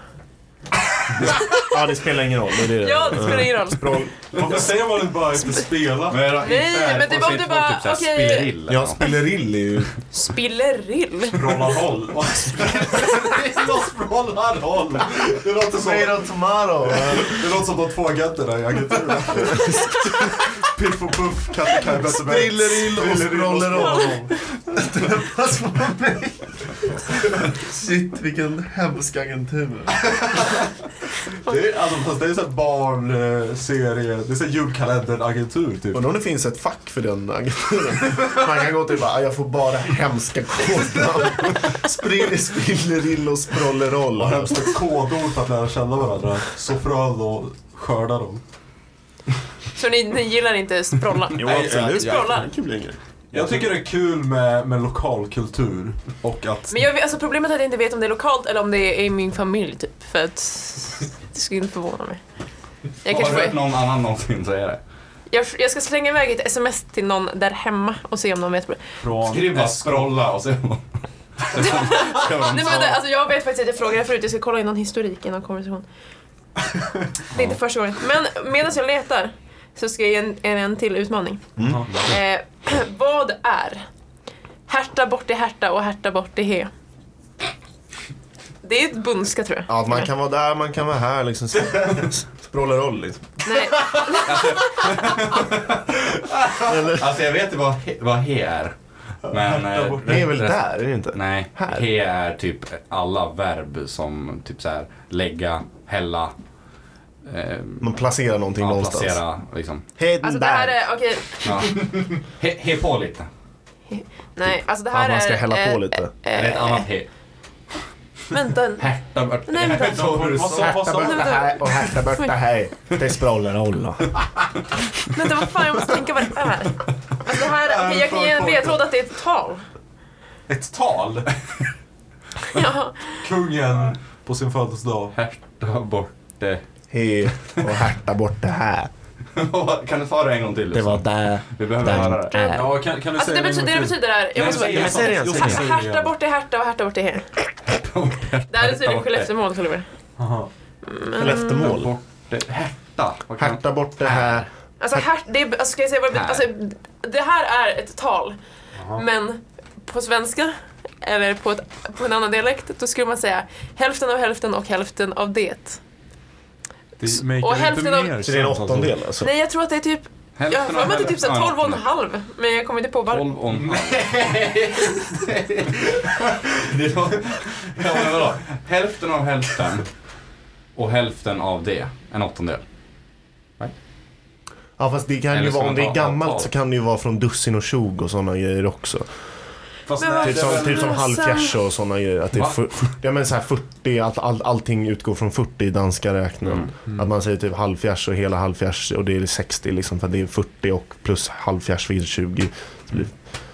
S5: ja, det spelar ingen roll. Det är det.
S1: Ja, det spelar ingen roll.
S5: Sproll.
S4: Varför säger man inte bara efter spela?
S3: Men jag-
S1: Nej,
S3: så här,
S1: men det
S3: och
S1: var-
S3: så
S1: det
S3: inte folk
S1: var-
S3: typ så här
S1: okej.
S3: spillerill eller
S5: Ja,
S3: något.
S5: spillerill är ju...
S1: Spillerill.
S4: Sprallar håll. Sprallar håll. Det låter som,
S5: tomorrow.
S4: det låter som de två agenterna i agenturen. Piff och Puff, Katte Kaj, Bette Bett.
S5: Spillerill och
S4: Spillerill och
S5: sprolleroll.
S4: sprolleroll.
S5: Shit, vilken hemsk agentur.
S4: Det är, alltså, fast det är så här barnserie, det är så här julkalenderagentur typ.
S5: Undrar om det finns ett fack för den agenturen. Man kan gå till och bara, "Ah, jag får bara hemska kodnamn. Sprill, spillerill och sprolleroll.
S4: Och hemska kodord för att lära känna varandra. Så frön och skörda dem.
S1: Så ni, ni gillar inte Språlla?
S5: Jo,
S3: Nej,
S5: absolut.
S1: jag- jag-
S5: Det är kul grej.
S4: Jag tycker det är kul med, med lokalkultur och att...
S1: Men jag, vet- alltså problemet är att jag inte vet om det är lokalt eller om det är i min familj typ. För att det skulle inte förvåna mig. Jag,
S3: Har
S1: kanske
S3: du hört
S1: får,
S3: någon annan någonsin säga det?
S1: jag, jag ska slänga iväg ett sms till någon där hemma och se om någon vet. vad det-
S4: Från
S3: Skriv bara
S4: SK.
S3: scrolla och se om se om- se om de
S1: Nej, men, det- alltså, jag vet faktiskt att jag frågade förut, jag ska kolla in någon historik i någon konversation. Det är inte första gången. Men medan jag letar så ska jag ge en, en, en till utmaning.
S5: Mm.
S4: Ja.
S1: Eh, vad är härta bort i härta och härta bort i he? Det är ett bunska tror jag.
S5: Ja, man kan vara där, man kan vara här liksom. Sprolleroll liksom.
S1: Nej,
S5: Eller?
S3: Alltså jag vet vad, he- vad he är. Men... eh,
S4: borta.
S5: Det är väl
S3: rest-
S5: där, är det inte?
S3: Nej,
S5: Här.
S3: he är typ alla verb som typ så här lägga, hälla, eh,
S5: Man placerar någonting
S3: ja,
S5: någonstans.
S3: placera liksom.
S5: Hej
S1: alltså det här
S5: där.
S1: är, okej,
S3: Ja. He, he på lite.
S1: nej, alltså det här
S5: Ja,
S1: är...
S5: man ska hälla
S1: eh,
S5: på lite.
S3: Är det ett
S1: eh,
S3: annat he?
S1: Vänta, nej,
S3: Härta bort.
S1: Nej, men-
S3: Så har du
S4: Vad
S3: sagt.
S4: sa- vad sa-
S1: vänta, vänta,
S5: och härta borta hej. Det är sprolleroll.
S1: vänta, vad fan, jag måste tänka vad det är. Alltså det här, okej, jag kan ge en ledtråd att det är ett tal.
S4: Ett tal?
S1: Ja. Alltså,
S4: Kungen på sin födelsedag.
S3: Härta bort. det.
S5: Hej och härta borta här.
S3: kan du ta det en gång till?
S5: där.
S3: Vi behöver höra det.
S4: Ja, kan, kan du
S1: Alltså det
S4: säga
S1: betyder, det
S4: en gång till?
S1: betyder är, jag måste bara,
S5: men säg det igen,
S4: Jo,
S5: säg det
S4: säg det
S1: Alltså, Härta
S4: igen.
S1: bort i härta och härta bort i he. Det här är tydligen Skelleftemål, Oliver.
S4: Aha.
S5: Skelleftemål.
S3: Bort. Härta. Vad kan-
S5: Härta borta här.
S1: Alltså, här, det, är, alltså, ska jag säga vad det,
S3: Här.
S1: alltså, det här är ett tal, men på svenska eller på, ett, på en annan dialekt, då skulle man säga hälften av hälften och hälften av det.
S4: Det maker
S1: Och
S4: inte
S1: hälften av-
S4: mer
S5: Så det är
S4: sens,
S5: en
S4: alltså.
S5: åttondel alltså?
S1: Nej, jag tror att det är typ, jag har
S3: Hälften
S1: för mig att det är typ så här
S3: hälften.
S1: 12 och en halv, men jag kommer inte på bara.
S3: 12 och en halv. Det låter- ja, men vadå? Hälften av hälften och hälften av det. En åttondel.
S5: Ja fast det kan
S3: Eller
S5: ju
S3: ska
S5: vara,
S3: man
S5: om det
S3: ta
S5: är gammalt
S3: avtal?
S5: så kan det ju vara från dussin och tjog och sådana grejer också.
S4: Fast
S1: Men
S4: nej,
S1: vad-
S5: Typ
S4: det
S3: Alltså,
S4: är
S5: som,
S4: väl-
S5: typ som
S1: lösa-
S5: halvfjärse och sådana grejer. Att det är
S3: Va?
S5: fyr- ja men så här 40, att all, allting utgår från 40 i danska räknen.
S3: Mm,
S5: Att man säger typ halvfjärs och hela halvfjärs och det är 60 liksom för att det är 40 och plus halvfjärs vid 20. Så blir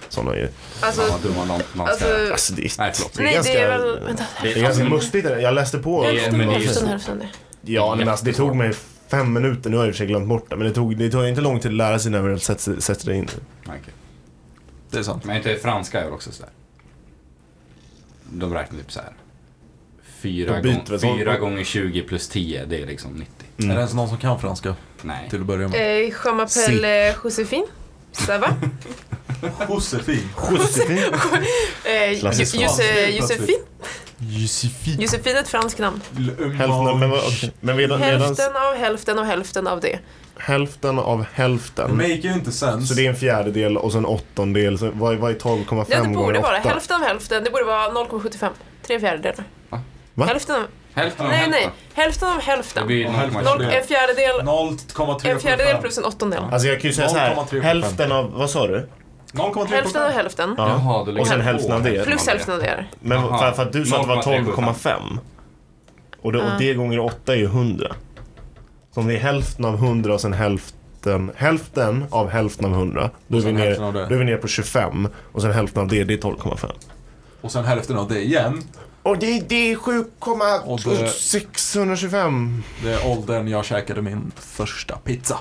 S5: Sådana grejer.
S1: Alltså,
S3: Fan, vad dumma de man ska...
S1: alltså,
S5: Alltså det är,
S3: Nej, förlåt.
S1: nej det är väl, vänta,
S5: det är
S3: Alltså-
S5: ganska mustigt. det där. Jag läste på.
S3: Det är-
S1: hälften
S3: men
S1: och
S3: det är ju
S1: hälften,
S3: så.
S1: hälften. det.
S5: Ja, nej, men alltså, det
S3: jättesvårt.
S5: tog mig fem minuter. Nu har jag i och för sig glömt bort det. Men det tog, det tog inte lång tid att lära sig när man väl sätter sätter det in.
S3: Nej, okej.
S4: Det är sant.
S3: Men inte franska är väl också sådär? De räknar typ såhär.
S5: De
S3: Fyra,
S5: byter
S3: gång,
S5: väl så-
S3: fyra gånger 20 plus 10, det är liksom 90.
S5: Mm. Typ.
S4: Är det ens någon som kan franska?
S3: Nej.
S4: Till att börja med.
S1: Eh, Je m'appelle Josefine. Ça va?
S4: Josefin.
S5: Josefin.
S1: Eh,
S5: Klassiskt
S1: Ju- Jose-
S4: svar.
S1: Josefin.
S4: Josefin.
S1: Josefin är ett franskt namn.
S5: Hälften, men, vad- okej. men medan, medans,
S1: Hälften av hälften av hälften av det.
S5: hälften av hälften.
S4: Make ju inte sens.
S5: Så det är en fjärdedel och så en åttondel. Så vad, är- vad är 12,5
S1: Nej, det borde
S5: gånger
S1: vara
S5: 8?
S1: hälften av hälften. Det borde vara 0,75. Tre fjärdedelar.
S3: Va?
S5: Va?
S1: Hälften av...
S3: Hälften av
S1: Nej,
S3: hälften.
S1: nej. Hälften av
S3: Det
S1: hälften.
S3: blir
S4: Och hälften.
S3: 0,25.
S1: Noll, en fjärdedel,
S4: 0,3
S1: en fjärdedel plus en åttondel.
S5: Alltså jag kan ju säga så här.
S4: 0,3.
S5: Hälften av, vad sa du?
S4: 0,3
S1: Hälften av hälften.
S5: Ja.
S3: Jaha, du lägger
S5: Och sen
S3: på
S5: hälften av det.
S1: Plus hälften av det.
S5: Men
S3: Aha.
S5: för, för att du sa att det var
S3: 0,375.
S5: 12,5. Och det, och det gånger 8 är ju 100. Så om det är hälften av 100 och sen hälften, hälften av hälften av 100. Då är, vi
S4: sen
S5: ner,
S4: hälften av det.
S5: då är vi ner på 25. Och sen hälften av det, det är 12,5.
S4: Och sen hälften av det igen.
S5: Och det, det är
S4: Och det-
S5: 7,625.
S4: Det är åldern jag käkade min första pizza.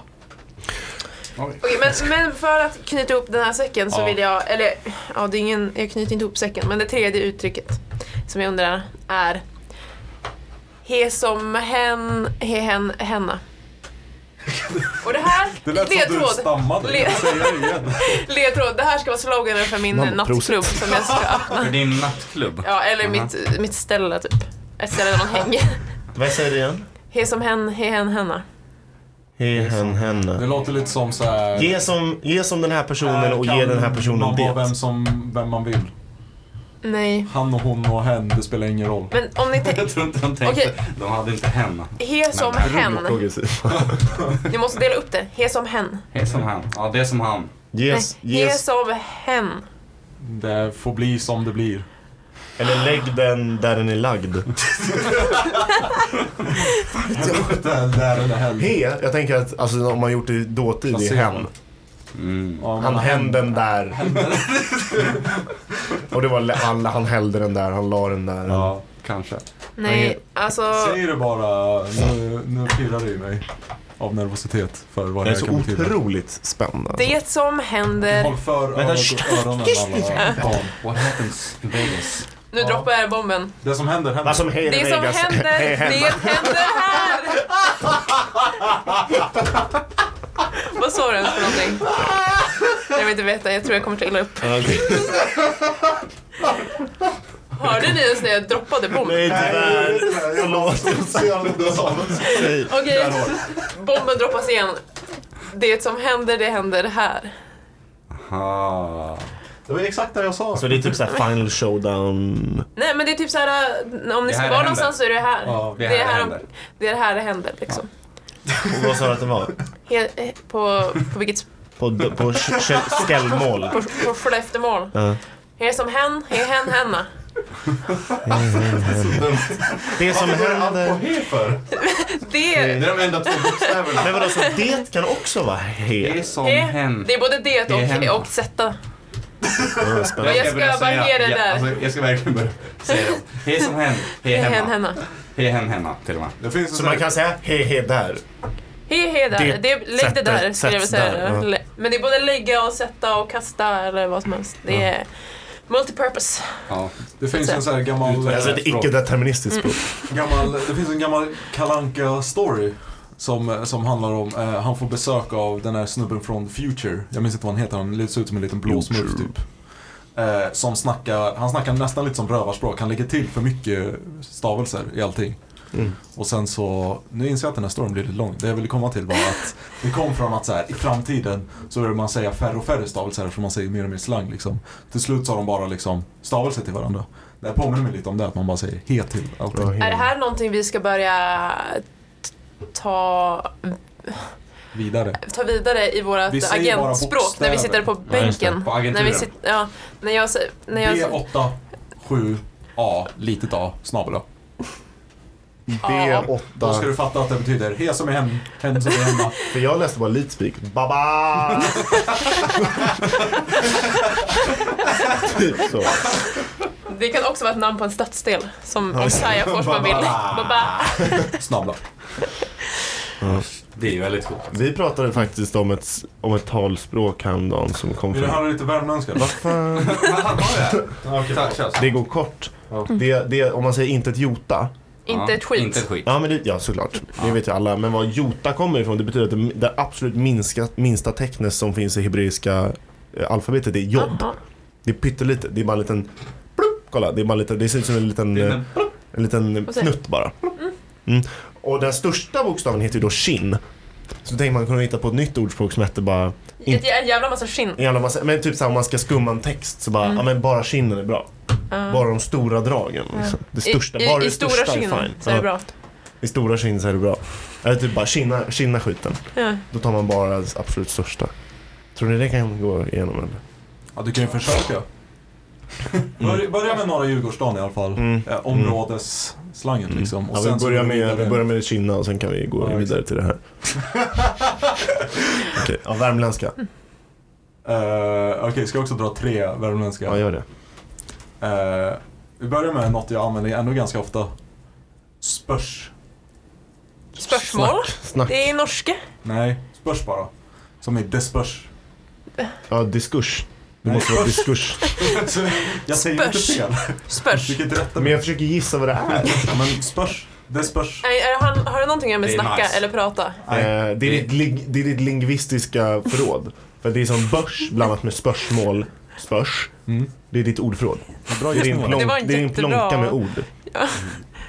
S1: Okej, men, men för att knyta ihop den här säcken så
S4: Ja.
S1: vill jag, eller ja, det är ingen, jag knyter inte ihop säcken, men det tredje uttrycket som jag undrar är He som hen, he hen, henna. Och det här,
S4: Det lät som du
S1: ledtråd,
S4: stammade.
S1: Le-
S4: Jag säger det igen.
S1: ledtråd, det här ska vara sloganen för min
S5: Mamma,
S1: nattklubb som jag ska öppna.
S3: För din nattklubb.
S1: Ja, eller
S3: Aha.
S1: mitt, mitt ställe typ. Ett ställe där man hänger.
S5: Vad säger du igen?
S1: He som hen, he hen, henna.
S5: He, hen,
S4: Det
S5: henne.
S4: låter lite som så här.
S5: Ge som, ge som den här personen och
S4: Här
S5: ge
S4: kan
S5: den här personen
S4: man vara
S5: det.
S4: vem, som, vem man vill.
S1: Nej.
S4: Han och hon och hen, det spelar ingen roll.
S1: Men om ni tänker...
S3: Jag tror inte de tänkte,
S1: Okej.
S3: de hade inte hen.
S1: He som
S3: Men-
S1: hen.
S5: Progressiv.
S1: Ni måste dela upp det. He som hen.
S3: He som han. Ja, det som han.
S5: Yes,
S1: Nej, he
S5: yes.
S1: som hen.
S4: Det får bli som det blir.
S5: Eller lägg den där den är lagd.
S4: Där, där eller hen.
S5: He, jag tänker att alltså, om man gjort det i dåtid, det är hen.
S3: Mm.
S4: Ja,
S5: Han
S4: men
S5: hände den där. Och det var lä- han, han hällde den där, han la den där.
S3: Ja, kanske.
S1: Nej, alltså...
S4: Säger du bara, nu, nu pirrar det i mig. Av nervositet för vad
S5: Det är
S4: jag
S5: så
S4: kan betyda.
S5: otroligt spännande.
S1: Det som händer...
S4: Håll för
S3: Vänta,
S4: öronen, öronen alla barn.
S3: What happens in Vegas?
S1: Nu
S4: Ja.
S1: droppar jag bomben.
S4: Det som händer händer.
S5: Vad som händer
S1: Det som
S5: Vegas,
S1: händer,
S5: he-
S1: det
S5: hen.
S1: händer här! Vad sa du ens för någonting? Jag vill inte veta, jag tror jag kommer trilla upp.
S5: Okej.
S1: Hörde ni ens när jag droppade bomben?
S5: Nej tyvärr, förlåt. Nej.
S1: Okej, bomben droppas igen. Det som händer, det händer här.
S3: Ah.
S4: Det var exakt det jag sa.
S5: Så det är typ såhär final showdown.
S1: Nej men det är typ så här äh, om ni
S3: Det
S1: ska
S3: här
S1: vara
S3: händer.
S1: någonstans så är det här.
S4: Ja,
S1: det,
S3: det här
S1: är här
S3: händer.
S1: om- det är här det händer liksom.
S5: Och vad sa du att det var?
S1: He, eh, på, på vilket sp-
S5: På, på sk- sk- skällmål.
S1: på, på Skelleftemål.
S5: Ja.
S1: Här som hen, här hen, henna.
S5: Det som händer...
S3: he för?
S1: Det,
S3: Det är de enda två bokstäverna.
S5: Men vadå, så det kan också vara
S3: He
S5: he?
S3: som
S1: det,
S3: hen.
S1: Eh, det är både det
S3: Det är henna.
S1: och, och sätta.
S5: Ja,
S1: Men
S5: Mm, spännande.
S1: jag ska
S3: börja
S1: bara
S3: säga-
S1: ge det
S3: ja,
S1: där.
S3: Alltså, jag ska verkligen börja säga det. He som hen.
S1: He,
S3: He
S1: hen,
S3: hemma.
S1: henna.
S3: He hen hemma till och med.
S4: Det finns en
S5: Så
S4: sån här-
S5: man kan säga he he där.
S1: He, he där.
S5: Det-
S1: Det, lägg det
S5: sätta-
S1: där skulle jag vilja
S5: sätts
S1: säga.
S5: där, ja.
S1: Lä- Men det är både lägga och sätta och kasta eller vad som helst. Det är multipurpose.
S3: Ja.
S4: Det finns en sån här gammal...
S5: Alltså
S4: eh,
S5: ett icke-deterministiskt språk.
S4: gammal det finns en gammal kalanka story som, som handlar om, eh, han får besök av den här snubben från Future. Jag minns inte vad han heter, han ser ut som en liten blåsmurf typ. Eh, som snackar, han snackar nästan lite som rövarspråk, han lägger till för mycket stavelser i allting.
S5: Mm.
S4: Och sen så, nu inser jag att den här storyn blir lite lång. Det jag ville komma till var att det kom från att så här, i framtiden så började man säga färre och färre stavelser för man säger mer och mer slang liksom. Till slut sa de bara liksom stavelser till varandra. Det här påminner mig lite om det, att man bara säger he till allting.
S5: Ja, he.
S1: Är det här någonting vi ska börja t- ta,
S4: Vidare.
S1: ta vidare i vårt
S4: Vi säger bara
S1: agentspråk när
S4: bokstäver.
S1: vi sitter på
S5: Ja, just det.
S1: bänken?
S3: På
S1: när, vi
S3: agenturen.
S1: sit, ja, när jag, s- när jag, s-
S4: B8, 7, A, litet a, snabel a.
S5: B8.
S4: Då ska du fatta att det betyder he som är hem, hen som är hemma.
S5: För jag läste bara Leadspeak. Baba! typ så.
S1: det kan också vara ett namn på en stadsdel som
S5: Ja,
S1: om
S5: just det.
S1: Kaja Forsman vill. Baba.
S4: Snabla.
S3: Det är ju väldigt coolt.
S5: Vi pratade faktiskt om ett, om ett talspråk häromdagen som kom
S4: Vill du
S5: från...
S4: höra lite värmländska?
S5: Vad fan?
S3: Okej, tack. Kör.
S5: Det går kort. Det, det, om man säger inte ett jota.
S1: Inte
S3: Ja,
S1: ett skit.
S3: Inte ett skit.
S5: Ja, men det, ja såklart. Det vet ju alla. Men var jota kommer ifrån, det betyder att det, det absolut minska, minsta tecknet som finns i hebreiska eh, alfabetet är jobb.
S1: Jaha.
S5: Det är pyttelite. Det är bara en liten... Plupp, kolla, det, är bara en liten, det ser ut som en liten,
S3: Det är
S5: eh,
S3: en-
S5: en liten
S1: Och sen-
S5: knutt bara. Mm. Och den största bokstaven heter ju då shin. Så tänkte man kunna hitta på ett nytt ordspråk som hette bara...
S1: Ett jä- en jävla massa skinn.
S5: En jävla massa, men typ såhär om man ska skumma en text så
S1: Mm.
S5: bara, ja men bara kinden är bra. Bara de stora dragen. liksom. Det största,
S1: Ah. I,
S5: bara
S1: i,
S5: det
S1: i stora
S5: största
S1: skinn
S5: är fine. Ah.
S1: så är det
S5: Ja,
S1: bra.
S5: I stora skinn så är det bra. Eller typ bara kinna, kinna skiten.
S1: Ja.
S5: Då tar man bara det absolut största. Tror ni det kan gå igenom
S4: Mm.
S5: eller?
S4: Ja, du kan ju försöka. Börja, börja med norra Djurgårdsstaden i alla fall.
S5: Mm.
S4: Eh, områdesslangen liksom. Och
S5: Ja,
S4: sen
S5: vi,
S4: så
S5: börjar
S4: går vi
S5: med,
S4: vidare.
S5: vi börjar med kinna och sen kan vi gå
S4: Ja,
S5: vidare till det här. Okej, ja, värmländska.
S4: Eh, Okej, ska jag också dra tre värmländska?
S5: Ja, gör det.
S4: Eh, vi börjar med något jag använder ändå ganska ofta. Spörs.
S1: Spörsmål?
S5: Snack.
S1: Det är norska.
S4: Nej, spörs bara. Som i despörs.
S5: Ja, diskurs. Det
S4: Nej,
S5: måste vara
S4: spörs.
S5: diskurs.
S4: Så jag säger ju inte
S1: Spörs.
S4: fel.
S1: Spörs.
S4: Du kan inte rätta
S5: Men
S4: mig.
S5: jag försöker gissa vad det är.
S4: Ja, men spörs. Det spörs.
S1: Nej, är- har, har det någonting med
S3: Det är
S1: snacka
S3: nice.
S1: eller prata?
S4: Nej.
S5: Eh, det, är ditt, ling- det är ditt lingvistiska förråd. För det är som börs blandat med spörsmål. Spörs.
S4: Mm.
S5: Det är ditt ordförråd.
S4: Bra
S5: Det är din,
S4: gissningar.
S5: plonk,
S1: Det var
S5: det
S1: en
S5: är din
S1: jättebra-
S5: plonka med ord.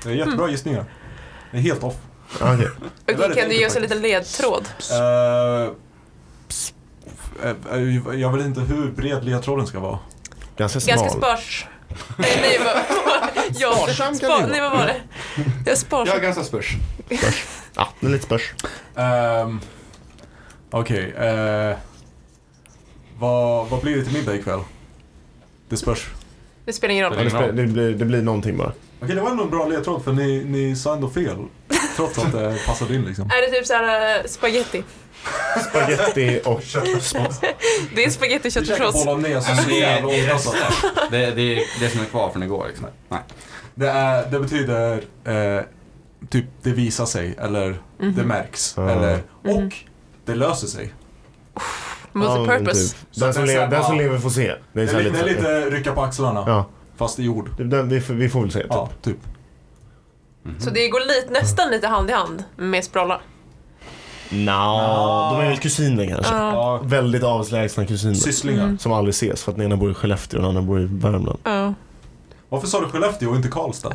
S4: Det är jättebra gissningar. Det är helt off.
S5: Ah, okej.
S1: Okej,
S4: väldigt
S1: kan du ge
S4: enkelt
S1: oss en liten ledtråd?
S4: Eh, pss, eh, eh, jag vet inte hur bred ledtråden ska vara.
S5: Ganska smal.
S1: Ganska spörs. Nej, nej, vad, jag,
S5: Sparsam kan du
S1: Nej, vad var det? Jag är sparsam.
S3: Jag är ganska spörs.
S5: Ja, det är lite spörs.
S4: Ehm, Okej. eh, vad, vad blir det till middag ikväll? Det spörs.
S1: Det spelar ingen
S5: Ja,
S1: roll.
S5: det, spelar- det, blir, det blir någonting bara.
S4: Okej, det var ändå en bra ledtråd för ni, ni sa ändå fel. Trots att det passade in liksom.
S1: Är det typ såhär äh, spaghetti?
S5: Spaghetti och...
S1: Det är spaghetti
S4: Vi käkar
S1: köttfärssås.
S4: bolognese
S3: Men
S4: så
S3: det är-
S4: jävla
S3: det är
S4: ofta. alltså.
S3: Det, det är det som är kvar från igår. Liksom. Nej.
S4: Det, är, det betyder eh, typ det visar sig eller det märks.
S5: Ah.
S4: Eller, och det löser sig.
S1: Multipurpose.
S5: Ja, men typ.
S4: Så
S5: Den,
S4: att
S5: som
S4: den
S5: lever,
S4: så här
S5: den som
S4: bara-
S5: lever får se. Det
S4: Det
S5: är, så här
S4: är,
S5: lite,
S4: lite, det är lite rycka på axlarna
S5: Ja.
S4: fast i ord.
S5: Det- Den, vi, får- vi får väl se. Typ.
S4: Ja, typ.
S1: Mm-hmm. Så det går lite, nästan lite hand i hand med spralla.
S5: Nja, de är väl kusiner kanske.
S4: Ja,
S5: Väldigt avlägsna kusiner.
S4: sysslingar.
S5: Som aldrig ses för att den ena bor i Skellefteå och den andra bor i Värmland.
S1: Ja.
S4: Varför sa du Skellefteå och inte Karlstad?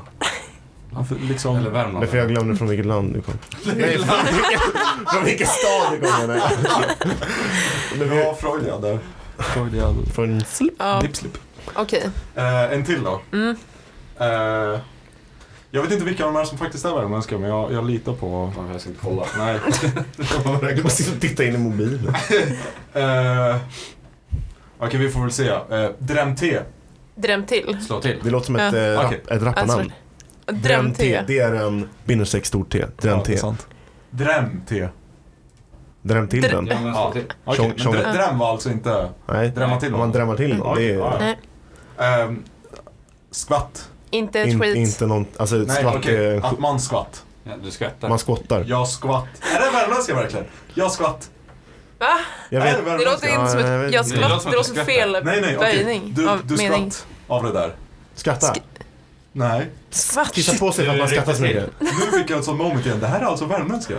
S4: Varför, liksom,
S3: Eller Värmland.
S5: Därför jag glömde från vilket land du kom. Nej, från vilken, från vilken stad du kom menar
S4: Bra
S5: jag.
S4: fråga där. Freudian.
S5: Från
S1: Ja,
S4: Dipslip.
S1: Okej.
S4: Eh, en till då. Eh, jag vet inte vilka av de här som faktiskt är värmländska men jag, jag litar på...
S3: Ja, Jag ska inte kolla.
S4: Nej.
S5: Du bara sitter och tittar in i mobilen.
S4: Eh, Okej, vi får väl se. Eh, Drämte.
S1: Dräm till.
S3: Slå till.
S5: Det låter som ett,
S1: Ja.
S5: äh,
S4: Okej.
S5: ett rapparnamn.
S1: Alltså, Dräm
S5: T.
S1: till.
S5: Det är en bindestreck stort T. Dräm
S4: Ja, det är
S5: T.
S4: sant. Drämte.
S5: Dräm till
S1: Dr-
S5: den.
S3: Ja, men slå till.
S4: Okej,
S5: Tjong-
S4: men
S5: tjong.
S4: drä- dräm var alltså inte...
S5: Nej,
S4: Drämma till
S5: om man
S4: någon.
S5: drämmar till
S4: Mm.
S5: någon. Det är
S4: Okej,
S1: Nej,
S4: Ehm, skvatt.
S1: inte ett
S5: in,
S1: skit.
S5: inte någon... Alltså ett
S4: Nej,
S5: svart...
S4: okej.
S5: eh,
S4: Att man skvatt.
S3: Ja, du skvättar.
S5: Man skottar.
S4: Jag skvatt. Är det värmländska verkligen? Jag skvatt.
S1: Va?
S4: är
S5: Jag vet.
S1: Det låter
S4: värmländska?
S5: Ja,
S1: inte som ett...
S5: jag vet
S1: Jag
S5: inte.
S3: Det låter
S1: skvatt.
S3: som
S1: Det låter som
S3: att du
S1: fel
S3: skrattar.
S4: Nej, nej, okej.
S1: böjning
S4: Du,
S1: av
S4: du
S1: mening.
S4: skvatt av det där.
S5: Skratta.
S4: Nej.
S1: Svart.
S5: Kissa på sig för att man skrattar så mycket.
S4: Nu fick jag ett sånt moment igen. Det här är alltså värmländska.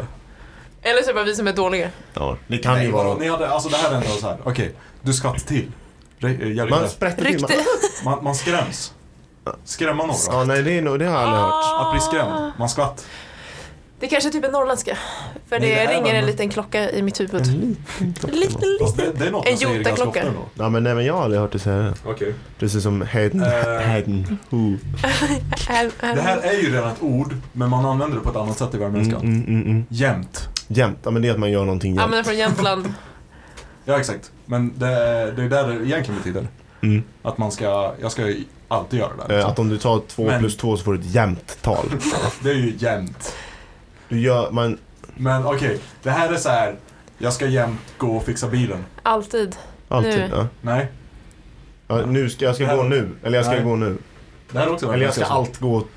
S1: Eller så är det bara vi som är dåliga.
S5: Ja, det kan ju
S4: Nej, vadå?
S5: vara...
S4: Ni hade, alltså det här är ändå så här. Okej, du skvatt till. Re- eh, Hjälp
S5: Man
S4: det.
S5: sprätter till.
S1: Rykte.
S5: Man,
S4: Man, man skräms. Skrämma några.
S5: ja, nej, det, är, nog- det har jag aldrig
S1: Ah.
S5: hört.
S4: Att bli skrämd. Man skvatt.
S1: Det kanske är typ är norrländska. För
S4: Nej, det
S1: det,
S4: här
S1: ringer
S4: var-
S1: en liten klocka i mitt huvud.
S5: En liten klocka.
S1: Lite,
S4: Fast
S1: lite.
S4: det, det Mm, är något
S1: En
S4: man säger ganska
S1: jotaklocka.
S4: ofta ändå.
S5: Ja, men, nej, men jag har aldrig hört dig säga det.
S4: Okej.
S5: Precis som Hayden.
S4: Eh.
S5: Hayden. Who.
S1: Är- är-
S4: Det här är ju redan ett ord, men man använder det på ett annat sätt i
S5: Mm,
S4: värmländskan.
S5: mm, mm, mm.
S4: Jämt.
S5: Jämt. Ja, men det är att man gör någonting
S1: Ja,
S5: jämt.
S1: men den är från Jämtland.
S4: Ja, exakt. Men det, är- det är där det egentligen betyder.
S5: Mm.
S4: Att man ska, jag ska ju alltid göra det. där,
S5: Eh,
S4: liksom.
S5: Att om du tar två
S4: Men-
S5: plus två så får du ett jämnt tal.
S4: Det är ju jämt.
S5: Du gör, man,
S4: Men okej, det här är så här. jag ska jämt gå och fixa bilen.
S1: Alltid.
S5: alltid.
S1: Nu.
S5: Ja.
S4: Nej,
S5: Ja, nu ska, jag ska gå nu. Eller jag ska
S4: Nej.
S5: gå nu.
S4: det här är också
S5: Eller jag ska
S4: värmländska.
S5: allt gå och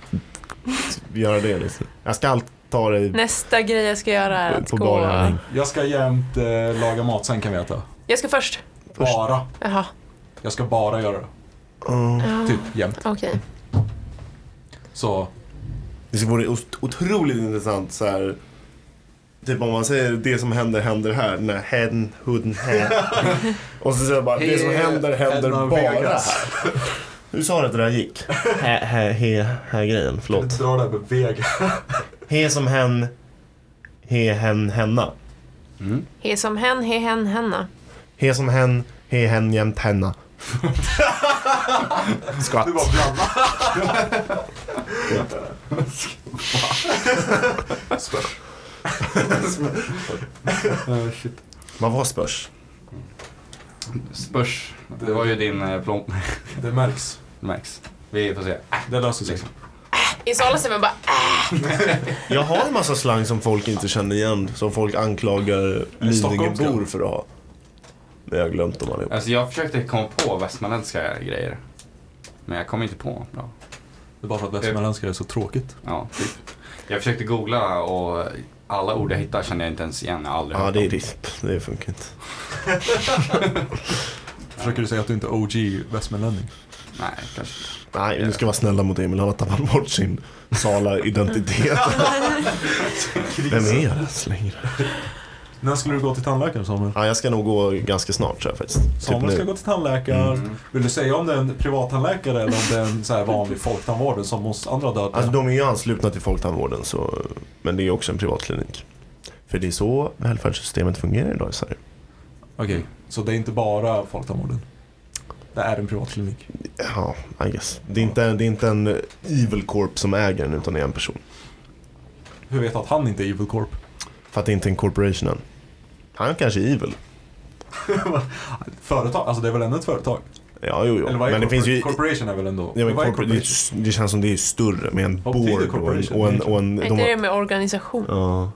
S5: göra det liksom. Jag ska allt ta dig
S1: Nästa grej jag ska göra är att
S5: på
S1: gå...
S5: bara
S4: Jag ska jämt eh, laga mat, sen kan vi äta.
S1: Jag ska först.
S5: Först.
S4: Bara.
S1: Jaha,
S4: Jag ska bara göra det.
S5: Ja.
S4: Typ jämt.
S1: okej.
S4: Så,
S5: Det vore ot- otroligt intressant så här. Typ om man säger det som händer händer här. Den här hen, huden, här. Och så säger jag bara det som händer händer
S4: Hen av
S5: bara här.
S4: Vegas.
S5: Hur sa du att det där gick? Hä, hä, he, här grejen, förlåt.
S4: dra det här med veg.
S5: He som hen, he, hen, henna.
S3: Mm.
S1: He som hen, he hen, henna.
S5: He som hen, he, hen, jämt, henna. Skvatt.
S4: Du bara blandar.
S5: Vad var spörs?
S3: Spörs. Det var ju din eh, plomb.
S4: Det märks.
S3: Max. Vi får se.
S4: Det löser sig.
S3: Liksom.
S1: I salen säger man bara
S5: Jag har en massa slang som folk inte känner igen, som folk anklagar Lidingöbor för att ha. Men jag har glömt dem allihop.
S3: Alltså jag försökte komma på västmanländska grejer. Men jag kom inte på något bra.
S4: Det är bara för att västmanländska är så tråkigt.
S3: Ja, typ. Jag försökte googla och alla ord jag hittade kände jag inte ens igen. Jag har aldrig
S5: Ja,
S3: hört
S5: det är
S3: dem.
S5: risp. Det funkar inte.
S4: Försöker du säga att du inte är OG västmanlänning?
S3: Nej, kanske inte.
S5: Nej, nu ska jag vara snälla mot Emil. Han har tappat bort sin sala identitet. Vem är jag ens längre?
S4: När skulle du gå till tandläkaren Samuel?
S5: Ja, jag ska nog gå ganska snart så här, faktiskt. Typ
S4: Samuel ska
S5: nu.
S4: gå till tandläkaren. Vill du säga om det är en privattandläkare eller om det är en så här vanlig folktandvård som hos andra döda?
S5: Alltså de är ju anslutna till Folktandvården, så... men det är också en privatklinik. För det är så välfärdssystemet fungerar idag i Sverige.
S4: Okej, så det är inte bara folktandvården? Det är en privatklinik.
S5: Ja, I guess. Det är, inte, det är inte en evil corp som äger den utan det är en person.
S4: Hur vet jag att han inte är Evil Corp?
S5: För att det inte är en corporation än. Han kanske är evil.
S4: Företag? Alltså det är väl ändå ett företag?
S5: Ja, jo,
S4: Eller
S5: jo.
S4: vad är
S5: Men det
S4: corpor-
S5: finns ju...
S4: Corporation är väl ändå...
S5: Ja, men
S4: vad är
S5: corpor- det,
S4: corporation?
S5: är- det känns som det är större med en
S4: Vad betyder
S5: board och en...
S4: corporation?
S5: Och en, och en
S1: Är
S5: de
S1: inte
S5: har-
S1: det med organisation?
S5: Ja.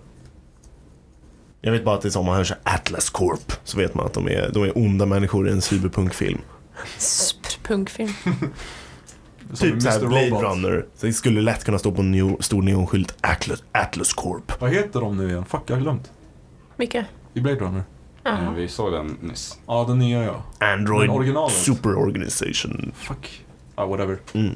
S5: Jag vet bara att det är som om man hör så här, Atlas Corp så vet man att de är, de är onda människor i en cyberpunkfilm.
S1: Sp- Punkfilm.
S4: Som
S5: Typ så här
S4: Mr.
S5: Blade
S4: Robot.
S5: Runner. Så det skulle lätt kunna stå på en neo, stor neonskylt Atlas, Atlas Corp.
S4: Vad heter de nu igen? Fuck, jag har glömt.
S1: Vilka?
S4: I Blade Runner.
S3: Eh,
S1: Jaha.
S3: Vi såg den nyss.
S4: Ja, den nya ja. Men
S5: Android
S4: originalet?
S5: Super Organization.
S4: Fuck. Ja, whatever.
S5: Mm.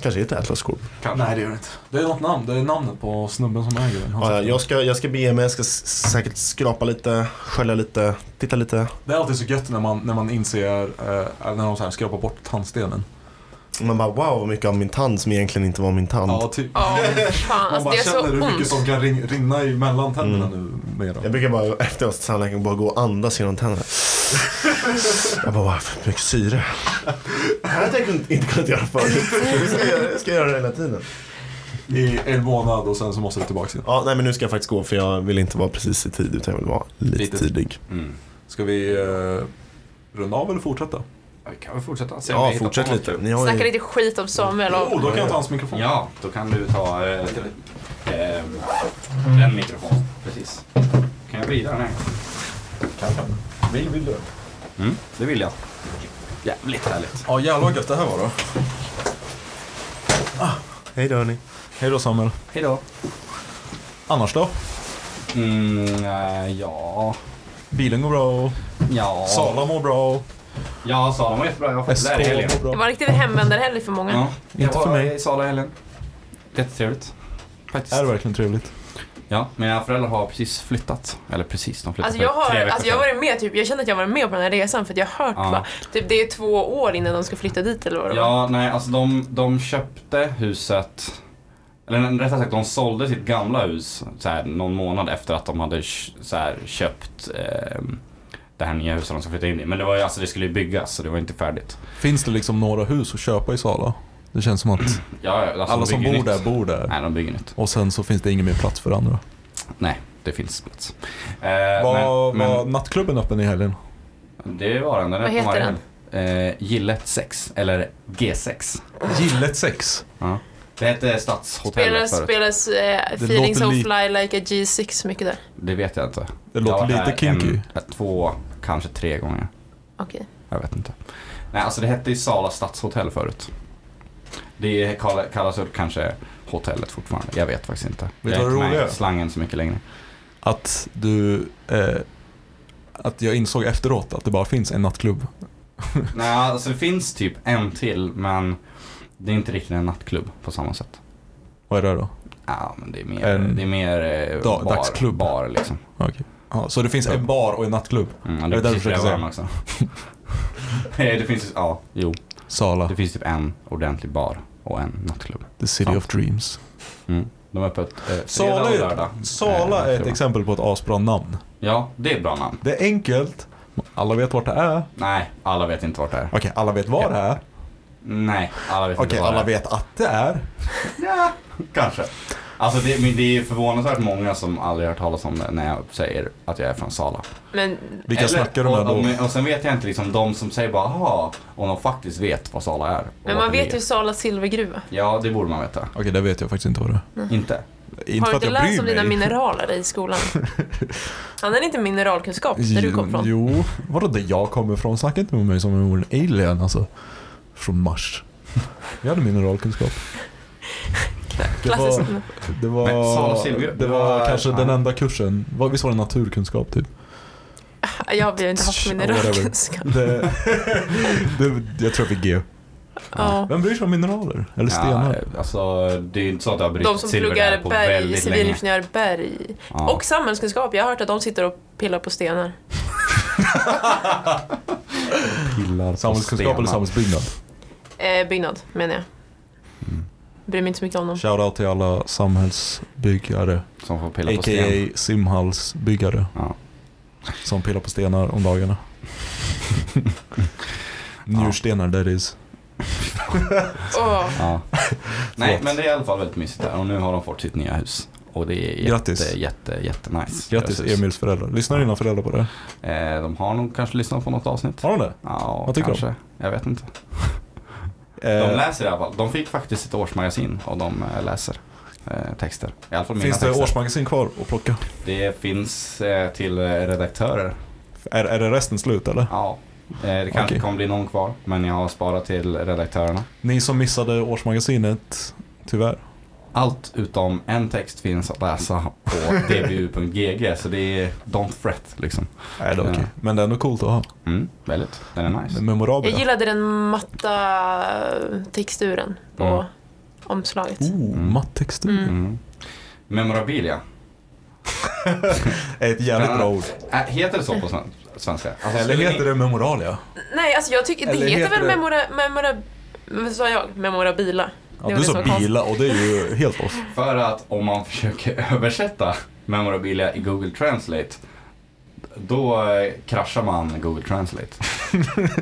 S5: Kanske heter Atlas Corp.
S3: Kanske.
S4: Nej, det gör det inte. Det är något namn. Det är namnet på snubben som äger den. Han
S5: Ja, ja,
S4: sätter-
S5: jag, ska, jag ska bege mig, jag ska s- säkert skrapa lite, skölja lite, titta lite.
S4: Det är alltid så gött när man, när man inser, eh, när de så här skrapar bort tandstenen.
S5: Man bara wow vad mycket av min tand som egentligen inte var min tand.
S4: Ja, typ.
S1: Ja, fan.
S4: Man
S1: Alltså,
S4: bara
S1: det är så
S4: känner hur mycket
S1: ont.
S4: som kan rin- rinna i mellan tänderna
S5: Mm.
S4: nu
S5: Jag
S4: mera.
S5: brukar bara efter oss till tandläkaren bara gå och andas genom tänderna. Jag bara, wow, för mycket syre. Det här hade jag kun- inte kunnat göra förut. Nu ska jag, göra- jag ska göra det hela tiden.
S4: I en månad och sen så måste det tillbaka igen.
S5: Ja, nej men nu ska jag faktiskt gå för jag vill inte vara precis i tid utan jag vill vara lite,
S4: Lite.
S5: tidig.
S3: Mm.
S4: Ska vi eh, runda av eller fortsätta?
S3: Ja, Vi kan väl fortsätta? Se om vi
S5: Ja,
S3: hittar
S5: fortsätt
S3: på något
S5: lite.
S3: kul.
S5: Ni har
S1: Snacka
S5: ju...
S1: lite skit om Samuel
S4: Oh,
S1: och...
S4: då kan jag ta hans mikrofon.
S3: Ja, då kan du ta eh, eh, den mikrofonen. Precis. Kan jag vrida den här?
S4: Vill, vill du?
S3: Mm, det vill jag. Jävligt härligt.
S4: Ja, jävlar vad gött det här var då.
S5: Hej då hörni.
S4: Hej då Samuel.
S3: Hej då.
S4: Annars då?
S3: Mm, eh, ja...
S4: Bilen går bra och
S3: Ja,
S4: Sala mår bra och
S3: ja, Sala var jättebra. Jag var faktiskt där i helgen.
S4: mår
S1: Det
S4: bra.
S1: var riktigt hemvändarhelg för många.
S3: Ja, jag
S4: Inte för
S3: var
S4: mig.
S3: i Sala i helgen. Jättetrevligt. Faktiskt.
S4: Är det verkligen trevligt?
S3: Ja, mina föräldrar har precis flyttat. Eller precis, de flyttade
S1: Alltså jag,
S3: för tre
S1: har,
S3: veckor
S1: alltså jag har
S3: sedan.
S1: varit med, typ, jag känner att jag har varit med på den här resan för att jag har hört
S3: Ja.
S1: va? Typ, det är två år innan de ska flytta dit eller vad det var.
S3: Ja, nej, alltså de, de köpte huset, eller nej, rättare sagt de sålde sitt gamla hus så här, någon månad efter att de hade kö- så här, köpt eh, det här nya huset de ska flytta in i. Men det var ju, alltså det skulle ju byggas så det var inte färdigt.
S4: Finns det liksom några hus att köpa i Sala? Det känns som att
S3: Ja, ja, alltså,
S4: alla
S3: de
S4: som
S3: bygger
S4: bor där
S3: nytt.
S4: bor där.
S3: Nej, de bygger nytt.
S4: Och sen så finns det ingen mer plats för andra.
S3: Nej, det finns plats. Eh,
S4: Var,
S3: men,
S4: var nattklubben öppen i helgen?
S3: men det var den. den
S1: Vad
S3: är öppen
S1: heter
S3: varje
S1: den?
S3: helg. Eh, Gillet 6, eller G6.
S4: Gillet 6.
S3: Ja. Det hette Stadshotellet
S1: Spelas,
S3: förut.
S1: spelas eh,
S4: Det
S1: Feeling
S4: låter
S1: So
S4: li-
S1: Fly Like a G6 mycket där?
S3: Det vet jag inte.
S4: Det
S3: Jag
S4: låter
S3: har varit
S4: lite
S3: där
S4: kinky.
S3: En, eh, två, kanske tre gånger.
S1: Okej.
S3: Jag vet inte. Nej, alltså det hette ju Sala stadshotell förut. Det kall- kallas väl kanske hotellet fortfarande. Jag vet faktiskt inte.
S4: du
S3: jag är
S4: vad det
S3: inte
S4: roliga är?
S3: med i slangen så mycket längre.
S4: Att du... Eh, att jag insåg efteråt att det bara finns en nattklubb.
S3: Nej, alltså det finns typ en till men det är inte riktigt en nattklubb på samma sätt.
S4: Vad är det då?
S3: Ja, men det är mer,
S4: En
S3: det är mer eh,
S4: da-
S3: bar,
S4: dagsklubb.
S3: bar liksom.
S4: Ja, Okej. Ja, så det finns en bar och en nattklubb?
S3: Mm, ja,
S4: det
S3: det är
S4: du
S3: precis det jag
S4: försöker
S3: var med också. Nej, det finns, ja, jo.
S4: Sala,
S3: Det finns typ en ordentlig bar och en nattklubb.
S4: the city of dreams.
S3: Mm. De är öppet eh, fredag
S4: Sala
S3: och
S4: är,
S3: lördag.
S4: Sala
S3: Eh,
S4: är ett exempel på ett asbra namn.
S3: Ja, det är ett bra namn.
S4: Det är enkelt. Alla vet vart det är.
S3: Nej, alla vet inte vart det är.
S4: Okej, alla vet var det är.
S3: Nej, alla vet
S4: Okej,
S3: inte vad
S4: alla
S3: det är.
S4: vet att det är.
S3: Ja, kanske. Alltså det, men det är förvånansvärt många som aldrig har hört talas om det när jag säger att jag är från Sala.
S1: Men
S4: Vilka snackar du
S3: och,
S4: med då?
S3: och, och sen vet jag inte liksom de som säger bara aha, om de faktiskt vet vad Sala är. och
S1: Men
S3: vart
S1: man
S3: det
S1: vet
S3: ligger.
S1: ju Sala silvergruva.
S3: Ja, det borde man veta.
S4: Okej, det vet jag faktiskt inte vad det är.
S1: Mm.
S3: Inte?
S4: Inte
S1: Har du
S4: för att
S1: inte
S4: jag
S1: läst
S4: bryr
S1: om
S4: mig.
S1: dina mineraler i skolan? Han hade inte mineralkunskap där du kom från.
S4: Jo, vadå där jag kommer ifrån? Snacka inte med mig som om jag vore en alien alltså. Från Mars. Jag hade mineralkunskap. Det
S1: Klassiskt.
S4: var, det var,
S3: Men Sala Silver-
S4: det var
S3: Ja,
S4: kanske
S3: ja.
S4: den enda kursen. Vad- Visst var det naturkunskap typ?
S1: Jag har ju inte haft
S4: Tsch,
S1: mineralkunskap.
S4: Det, det, jag tror jag fick G.
S1: Ja.
S4: Vem bryr sig om mineraler? Eller stenar?
S3: Ja, alltså det är ju inte så att det har
S1: De
S3: brutit
S1: som
S3: silver där
S1: pluggar
S3: på
S1: berg,
S3: väldigt länge.
S1: civilingenjör berg.
S3: Ja.
S1: Och samhällskunskap. Jag har hört att de sitter och pillar på stenar.
S3: Pillar på
S4: Samhällskunskap eller
S3: stenar.
S4: samhällsbyggnad?
S1: Eh, byggnad menar jag.
S3: Mm.
S1: Bryr mig inte så mycket om dem.
S4: Shoutout till alla samhällsbyggare.
S3: Som får pilla på stenar.
S4: A.k.a. simhallsbyggare
S3: Ja.
S4: som pillar på stenar om dagarna. Njurstenar där is.
S1: Åh,
S3: Ja. Nej, men det är i alla fall väldigt mysigt där och nu har de fått sitt nya hus. Och det är jätte,
S4: Grattis.
S3: jätte, jätte nice.
S4: Grattis Emils föräldrar. Lyssnar dina föräldrar på det? här?
S3: Eh, de har nog kanske lyssnat på något avsnitt.
S4: Har de det?
S3: Ja,
S4: Vad tycker de?
S3: kanske. Jag vet inte. De
S4: Eh,
S3: läser i alla fall. De fick faktiskt sitt årsmagasin och de eh, läser eh, texter. I alla fall mina
S4: finns det
S3: texter.
S4: årsmagasin kvar att plocka?
S3: Det finns eh, till eh, redaktörer.
S4: Är, är det resten slut eller?
S3: Ja. Eh, det kanske
S4: Okej.
S3: kommer bli någon kvar, men jag har sparat till redaktörerna.
S4: Ni som missade årsmagasinet, tyvärr.
S3: Allt utom en text finns att läsa på dbu.gg, så det är don't fret liksom.
S4: Nej, det är
S3: Ja.
S4: okej. Men det är ändå coolt att ha.
S3: Mm, väldigt. Den är
S4: Det är
S3: nice.
S1: jag
S4: memorabelt.
S1: gillade den matta texturen på
S3: Mm.
S1: omslaget.
S4: Oh,
S3: Mm.
S4: mattextur.
S1: Mm.
S3: Mm. Memorabilia.
S4: Är ett jävligt bra ord.
S3: Äh, heter det så på sven- svenska? Alltså,
S4: Eller
S3: skulle
S4: heter det memoralia?
S1: Nej, alltså jag tycker, det
S4: Eller
S1: heter,
S4: heter
S1: väl
S4: det-
S1: memora, memora, vad sa jag? memorabila.
S4: Ja,
S1: Det
S4: du
S1: var
S4: sa
S1: det som var
S4: bila och det är ju helt off.
S3: ni- För att om man försöker översätta memorabilia i Google Translate, då eh, kraschar man Google Translate.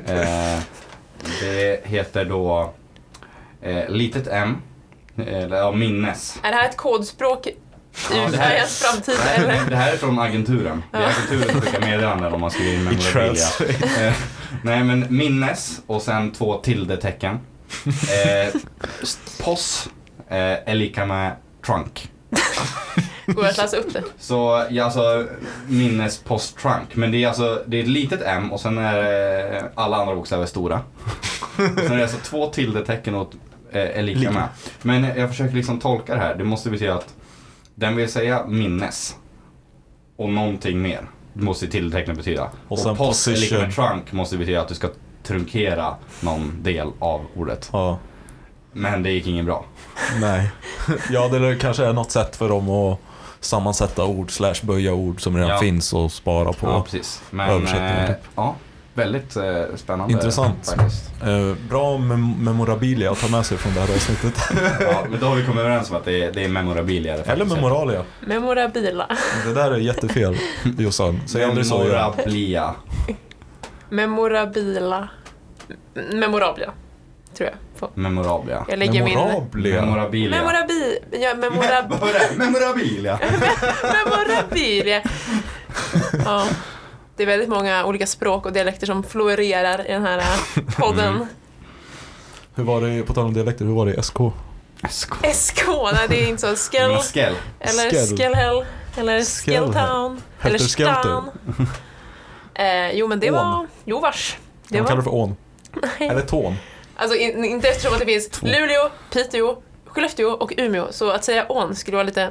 S3: eh, det heter då eh, litet m, eller ja, minnes.
S1: Är det här ett kodspråk
S3: Ja,
S1: ur
S3: det här-
S1: Sveriges framtid
S3: Nej,
S1: eller?
S3: nej, Det här är från agenturen. Det är
S1: Ja.
S3: agenturen som skickar meddelanden om man skriver in
S4: I
S3: memorabilia.
S4: translate.
S3: Eh, nej men minnes och sen två tilde-tecken. Eh, POS eh, är lika med trunk.
S1: Går det att läsa upp det?
S3: Så ja, alltså minnes POS trunk. Men det är alltså det är ett litet m och sen är eh, alla andra bokstäver stora. Och sen är det alltså två tilde-tecken och eh, är lika,
S4: Lika.
S3: med. Men jag försöker liksom tolka det här. Det måste betyda att den vill säga minnes och någonting mer. Det måste tilde-tecknet betyda.
S4: Och sen
S3: post är lika
S4: position.
S3: med trunk måste betyda att du ska trunkera någon del av ordet.
S4: Ja,
S3: Men det gick inget bra.
S4: nej. Ja, det kanske är något sätt för dem att sammansätta ord slash böja ord som redan
S3: Ja.
S4: finns och spara på.
S3: Ja, precis. Men
S4: översättningen,
S3: eh,
S4: typ.
S3: ja, väldigt eh, spännande.
S4: Intressant.
S3: Faktiskt.
S4: Eh, bra mem- memorabilia att ta med sig från det här avsnittet.
S3: Ja, men då har vi kommit överens om att det är, det är memorabilia. det
S4: Eller
S3: faktiskt
S4: memoralia.
S1: Memorabila.
S4: Det där är jättefel, Jossan.
S3: heter.
S4: Säg aldrig så igen.
S3: Memorabilia.
S1: Memorabila. M- Memorabla, tror jag. Får-
S3: Memorabilia.
S1: Jag lägger min...
S4: Memorabilia.
S3: Memorabilia.
S1: Memorabi... Ja,
S3: Me- vad
S1: memorab...
S3: var det? Memorabilia.
S1: memorabilia. Ja. Det är väldigt många olika språk och dialekter som florerar i den här eh, podden.
S4: Mm. Hur var det, på tal om dialekter, hur var det i SK?
S3: SK.
S1: SK, nej det är inte så. Skell,
S3: Men Skell.
S1: eller
S4: Skell.
S1: Skellhäll,
S4: Skellhäll.
S1: eller Skelltown, eller
S4: Helter-skelter.
S1: Stan. Eh, jo men det
S4: Ån.
S1: var... Jo vars. Det
S4: De kallar det
S1: var...
S4: för ån. Eller tån.
S1: Alltså in, inte eftersom att det finns Luleå, Piteå, Skellefteå och Umeå. Så att säga ån skulle vara lite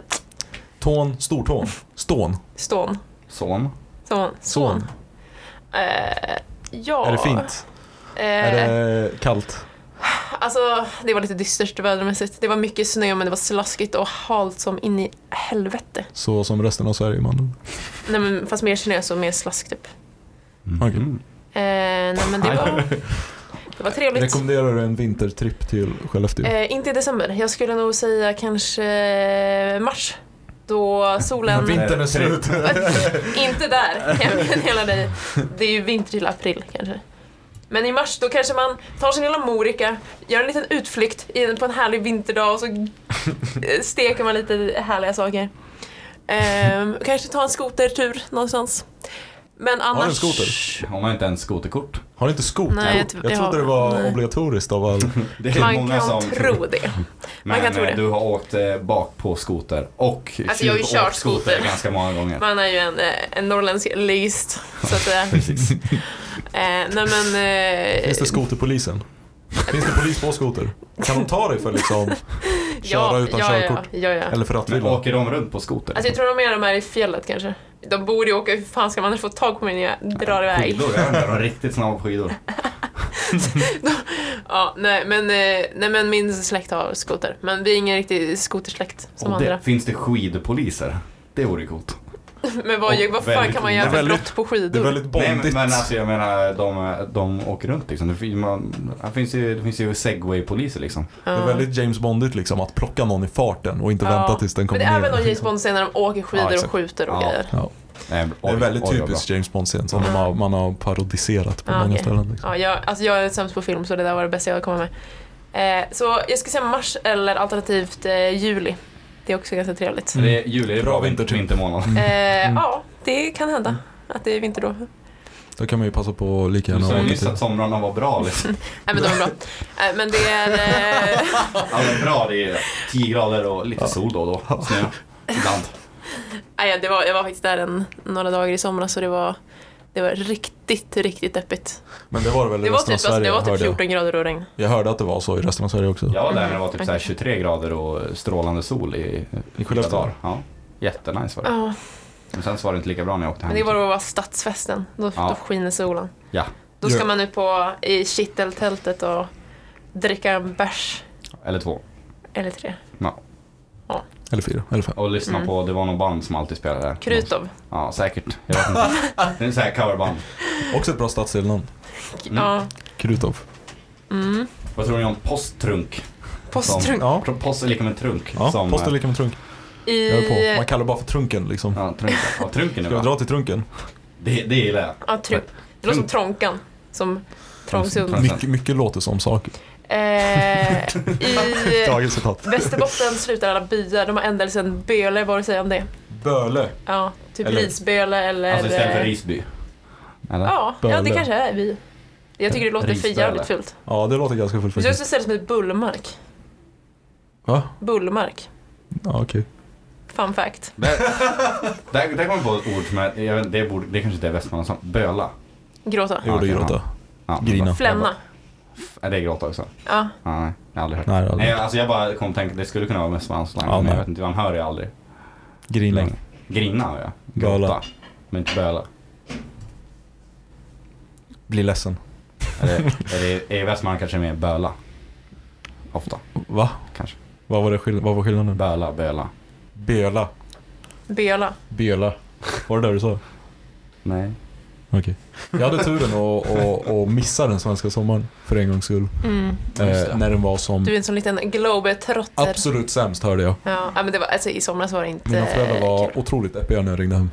S4: Tån, stortån. Stån.
S1: stån.
S3: Son.
S1: Sån.
S4: Son.
S1: Eh, ja.
S4: Är det fint?
S1: Eh,
S4: Är det kallt?
S1: Alltså det var lite dystert vädermässigt. Det var mycket snö men det var slaskigt och halt som in i helvete.
S4: Så som resten av Sverige man.
S1: Nej men fast mer snö så mer slask typ.
S4: Okej.
S3: Mm.
S1: Eh, nej men det var, det var trevligt.
S4: Rekommenderar du en vintertripp till Skellefteå?
S1: Eh, inte i december. Jag skulle nog säga kanske eh, mars. Då solen...
S4: Men vintern är slut.
S1: inte där, jag meddelar dig. Det är ju vinter till april kanske. Men i mars då kanske man tar sin lilla morika, gör en liten utflykt i- på en härlig vinterdag och så eh, steker man lite härliga saker. Ehm, kanske ta en skotertur någonstans. Men annars...
S4: Har du en skoter?
S3: Hon har inte ens skoterkort.
S4: Har ni inte skoter?
S1: Nej, jag
S4: jag,
S1: tror-
S4: trodde
S1: ja,
S4: det var
S1: nej. Eh,
S4: obligatoriskt av all...
S3: Det är
S1: Man
S3: många
S1: kan
S3: som
S1: tro det.
S3: Men
S1: kan tro
S3: eh,
S1: det.
S3: du har åkt eh, bak på skoter och
S1: Alltså, jag har ju
S3: tjuvåkt
S1: kört skoter.
S3: ganska många gånger.
S1: Man är ju en, eh, en norrländsk legist. Så att, eh,
S3: Precis.
S1: eh, nej men... eh,
S4: Finns det skoterpolisen? Finns det polis på skoter? Kan de ta dig för liksom köra utan
S1: ja,
S4: körkort?
S1: Ja, ja, ja.
S4: Eller för att
S3: Men
S4: vilja?
S3: åker de runt på skoter?
S1: Alltså jag tror de är de här i fjället kanske. De borde ju åka, hur fan ska man annars få tag på mig när jag drar iväg?
S3: Skidor, jag undrar, de är riktigt snabba på skidor.
S1: Ja, nej, men, eh, nej men min släkt har skoter. Men vi är ingen riktig skotersläkt som
S3: Och
S1: andra.
S3: det, finns det skidpoliser? Det vore ju coolt.
S1: Men vad,
S3: och
S1: vad fan
S3: väldigt-
S1: kan man
S4: det
S1: göra
S4: är
S1: för
S4: väldigt-
S1: brott på
S4: Det är
S1: skidor?
S4: väldigt
S3: Nej, men,
S4: bondigt.
S3: men alltså jag menar, de, de åker runt liksom. Det, fin- man, det finns ju, det finns ju segway-poliser liksom.
S1: Ja.
S4: Det är väldigt James Bondigt liksom att plocka någon i farten och inte
S1: Ja.
S4: vänta tills den
S1: Men
S4: kommer
S1: det är väl
S4: ner. liksom.
S1: någon James Bond-scen när de åker skidor
S4: Ja,
S1: och
S4: exakt.
S1: skjuter och
S3: Ja.
S1: grejer.
S4: Ja.
S3: Nej,
S4: Det är
S3: oj,
S4: väldigt
S3: oj, vad
S4: typiskt James Bond-scen som
S1: Ja.
S4: de har, man har parodiserat på
S1: Ja,
S4: många
S1: okej.
S4: ställen. Liksom.
S1: Ja, jag, alltså jag är sämst på film så det där var det bästa jag kom med. Eh, så jag skulle säga mars eller alternativt eh, juli. Det är också ganska trevligt.
S3: bra. Det är, juli är bra,
S4: Mm. Bra vintertid.
S3: vinter, vintermånad.
S4: Mm.
S1: Eh, Ja, det kan hända att det är vinter då.
S4: Då kan man ju passa på lika
S3: Du
S4: gärna
S3: sa ju
S4: ha
S3: nyss
S4: lite...
S3: att somrarna var bra. Liksom.
S1: Nej men de är bra. Eh, men det är... Eh,
S3: Ja, men bra, det är 10 grader och lite sol då och då. Snö. Ibland.
S1: nej, ja, det var, jag var faktiskt där en, några dagar i somras och det var, det var riktigt, riktigt deppigt.
S4: Men det var det väl i
S1: Det var, typ,
S4: resten av
S1: alltså,
S4: Sverige?
S1: det var typ
S4: hörde jag.
S1: 14 grader och regn.
S4: jag hörde att det var så i resten av Sverige också.
S3: Jag var där när det var typ
S1: Mm,
S3: så här
S1: okej.
S3: 23 grader och strålande sol i
S4: I
S3: fyra
S4: Skellefteå.
S3: dagar. Ja. Jättenice var det.
S1: Ja,
S3: Men sen så var det inte lika bra när jag åkte hem.
S1: men det var då var stadsfesten. Då,
S3: Ja.
S1: då skiner solen.
S3: Ja.
S1: Då ska
S4: Ja.
S1: man ut på i kitteltältet och dricka en bärs
S3: Eller två.
S1: eller tre.
S4: Eller fyra, eller fem.
S3: Och lyssna
S1: Mm.
S3: på, det var någon band som alltid spelade där.
S1: Krutov.
S3: Ja, säkert. Jag vet inte. Det är så här coverband.
S4: Också ett bra stadsdelnamn.
S3: Mm.
S1: Ja.
S4: Krutov.
S1: Mm.
S3: Vad tror ni om posttrunk?
S1: Posttrunk.
S4: Ja,
S3: Pro- Post är lika med trunk.
S4: ja
S3: som,
S4: post är
S3: eh,
S4: lika med trunk.
S1: I,
S4: Jag är på. Man kallar det bara för trunken liksom.
S3: Ja, trunk. Ja, trunken är
S4: Ska vi
S3: bra.
S4: dra till trunken?
S3: Det, det gillar jag.
S1: ja, trunk. Det låter som Tronkan. Som Trångsund.
S3: Trångsund.
S4: Mycket, mycket låter som saker.
S1: Eh, I
S4: Dagens citat.
S1: Västerbotten slutar alla byar. De har ändelsen Böle, vad du säger om det.
S4: Böle.
S1: Ja, typ
S4: Eller-
S1: Risböle eller... eh,
S3: Alltså istället för Risby. Eller?
S1: Ja, ja, det
S4: Böle.
S1: kanske är by. Jag tycker det låter för
S3: Risböle.
S1: jävligt fult.
S4: Ja, det låter ganska fullt
S1: Det känns
S4: faktiskt.
S1: som istället som ett bullmark.
S4: Va?
S1: Bullmark.
S4: Ja, okej.
S1: Fun fact.
S3: Där, där, där kom jag på ett ord som är, jag vet, inte, det, borde, det kanske inte är Västmanland, böla.
S1: Gråta.
S4: Jag Gjorde
S3: Okej,
S4: gråta.
S3: Ja,
S4: Grina.
S1: Flämna.
S3: Är det gråta också?
S1: Ja.
S3: Ja, nej, jag har aldrig hört.
S4: Nej, det har jag
S3: Nej,
S4: aldrig.
S3: alltså jag bara kom att tänka, det skulle kunna vara Västmanlandsslang,
S4: Ja,
S3: men jag
S4: nej.
S3: vet inte, man hör det aldrig.
S4: Grina.
S3: längre. Grina har jag.
S4: Böla.
S3: Gråta. Men inte böla.
S4: Bli ledsen.
S3: Är det, är det, är Västmanland kanske mer böla? Ofta,
S4: Va?
S3: kanske.
S4: Vad var, det skill- vad var skillnaden?
S3: Böla, böla.
S4: Böla.
S1: Böla.
S4: Böla. Var det där du sa?
S3: Nej.
S4: Okej. Jag hade turen att, att, att missa den svenska sommaren för en gångs skull.
S1: Mm.
S3: Just
S4: Eh,
S3: det.
S4: när den var
S1: Du
S4: som
S1: är en sån liten globetrotter.
S4: absolut sämst hörde jag.
S1: Ja, ja, men det var, alltså, i somras var det inte
S4: Mina föräldrar var
S1: eh, kul.
S4: otroligt deppiga när jag ringde hem.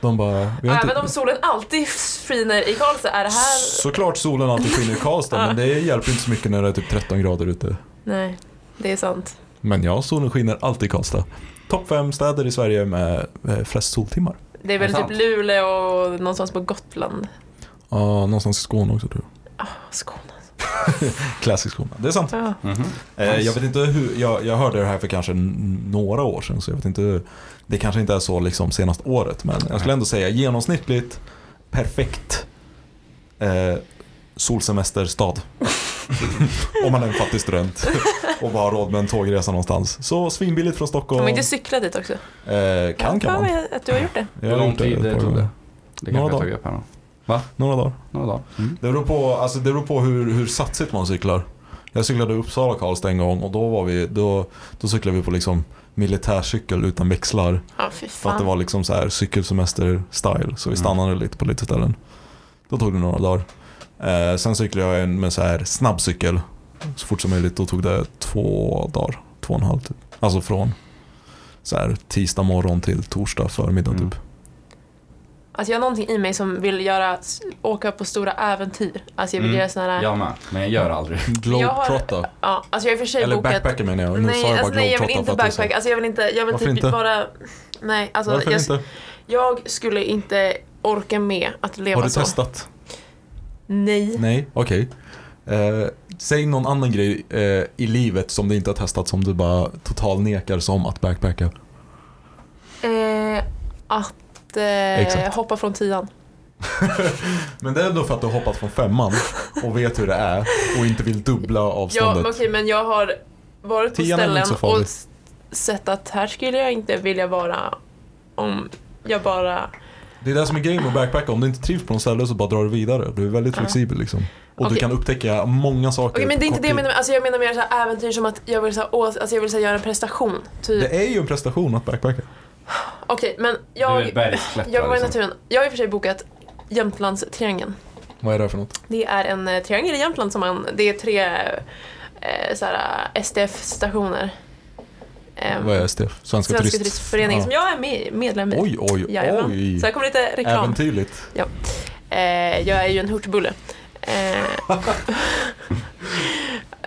S4: De bara... Vi har
S1: Även om
S4: inte...
S1: solen alltid skiner i Karlstad, är det här...
S4: Såklart solen alltid skiner i Karlstad men det hjälper inte så mycket när det är typ 13 grader ute.
S1: Nej, det är sant.
S4: Men ja, solen skiner alltid i Karlstad. Topp fem städer i Sverige med eh, flest soltimmar.
S1: Det är väl
S3: Det är sant.
S1: typ Luleå och någonstans på Gotland.
S4: Ja, någonstans i Skåne också tror jag.
S1: Ah, Skåne.
S4: Klassisk Skåne. Det är sant.
S1: Ja.
S3: Mhm.
S4: Eh, jag vet inte hur, jag, jag hörde det här för kanske n- några år sedan så jag vet inte. Det kanske inte är så liksom senaste året men jag skulle ändå säga genomsnittligt perfekt eh, solsemesterstad. Om man är en fattig student och bara har råd med en tågresa någonstans. Så svinbilligt från
S1: Får
S4: Stockholm.
S1: man inte cykla dit också?
S4: Eh, kan kan man.
S1: Ja, men att du har gjort det.
S4: Jag har gjort det ett par gånger.
S3: Det
S4: Några
S3: kanske jag
S4: dagar.
S3: tog upp här då.
S4: Några dagar.
S3: Några dagar. Mm.
S4: Det beror på, alltså det beror på hur, hur satsigt man cyklar. Jag cyklade Uppsala Karlstad en gång och då, var vi, då, då cyklade vi på liksom militärcykel utan växlar.
S1: Ja, fy
S4: För att det
S1: fan.
S4: var liksom så här cykelsemester-style. Så vi stannade lite på lite ställen. Då tog det några dagar. Eh, sen cyklade jag en med så här snabb cykel så fort som möjligt. Då tog det två dagar, två och en halv typ. Alltså från så här tisdag morgon till torsdag förmiddag
S3: Mm.
S4: typ.
S1: Alltså, jag har någonting i mig som vill göra, s- åka på stora äventyr. Alltså, jag vill
S3: Mm.
S1: göra sådana här...
S3: Jag med, men jag gör aldrig.
S4: Globetrotter.
S1: Ja, alltså, jag har i och för sig
S4: Eller
S1: bokat...
S4: backpacker menar jag. Nu sa
S1: Nej,
S4: jag bara
S1: alltså, nej, jag vill
S4: globetrotter
S1: inte
S4: för att det är så-
S1: backpacka. Alltså, jag vill inte... Jag vill
S4: Varför
S1: typ
S4: inte?
S1: bara... Nej, alltså...
S4: Varför
S1: jag,
S4: inte?
S1: jag skulle inte orka med att leva
S4: Har du
S1: så.
S4: testat?
S1: Nej.
S4: Nej, okej. Eh, säg någon annan grej eh, i livet som du inte har testat som du bara total nekar som att backpacka.
S1: Eh, att eh,
S4: Exakt.
S1: hoppa från tian.
S4: Men det är ändå för att du har hoppat från femman och vet hur det är och inte vill dubbla
S1: Ja, men
S4: avståndet.
S1: okej, men jag har varit på
S4: Tian är väl
S1: ställen
S4: inte så
S1: och
S4: farlig.
S1: s- sett att här skulle jag inte vilja vara om jag bara...
S4: Det är det som är grejen med att backpacka. Om du inte trivs på något ställe så bara drar du vidare. Du är väldigt flexibel liksom. Och du
S1: Okej.
S4: kan upptäcka många saker.
S1: Okej, men det är
S4: på
S1: inte
S4: kort
S1: det jag
S4: tid.
S1: menar. med- Alltså, jag menar mer så här äventyr som att jag vill, så här, å, alltså, jag vill så här, göra en prestation. Typ.
S4: Det är ju en prestation att backpacka.
S1: Okej, men
S3: du är
S1: jag,
S3: bergsklättrare.
S1: jag var i
S3: liksom.
S1: naturen. Jag har i och för sig bokat Jämtlandstriangeln.
S4: Vad är det för något?
S1: Det är en eh, triangel i Jämtland som man... Det är tre eh, så här, eh, SDF-stationer. eh,
S4: Vad är STF? Svenska,
S1: Svenska
S4: turist.
S1: Turistföreningen som jag är med, medlem i.
S4: Oj, oj,
S1: Jajamän.
S4: oj.
S1: Så här kommer lite reklam.
S4: Äventyrligt.
S1: Eh, jag är ju en hurtbulle. Eh,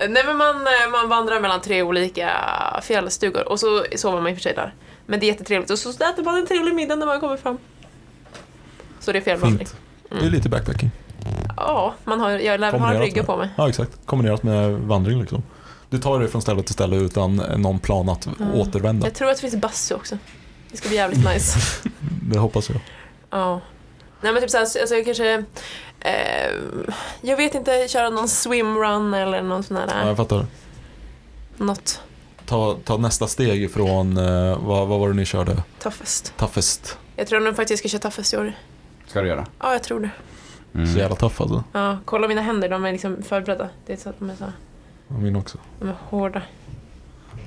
S1: Nej men man, eh, man vandrar mellan tre olika fjällstugor och så sover man i och för sig där. Men det är jättetrevligt och så äter man en trevlig middag när man kommer fram. Så det är fjällvandring. Mm.
S4: Fint. Det är lite backpacking.
S1: Ja, man har, jag lär väl ha en
S4: Kombinerat
S1: rygga
S4: med.
S1: på mig.
S4: Ja, exakt. Kombinerat med vandring liksom. Du tar dig från ställe till ställe utan någon plan att återvända.
S1: Mm. Jag tror att det finns bastu också. Det ska bli
S4: Mm.
S1: jävligt nice.
S4: Det hoppas jag.
S1: Ja. Nej men typ såhär, alltså jag kanske... Eh, jag vet inte, köra någon swimrun eller någon sån här... eh,
S4: Ja, jag fattar.
S1: Något
S4: Ta, ta nästa steg ifrån, eh, vad, vad var det ni körde?
S1: toughest.
S4: Toughest.
S1: Jag tror nog faktiskt jag ska köra toughest i år.
S3: Ska du göra? Mm.
S1: Ja, jag tror det.
S4: Så jävla tuff alltså.
S1: Ja, kolla mina händer, de är liksom förberedda. Det är så att de är så här,
S4: Ja, Min också.
S1: de är hårda.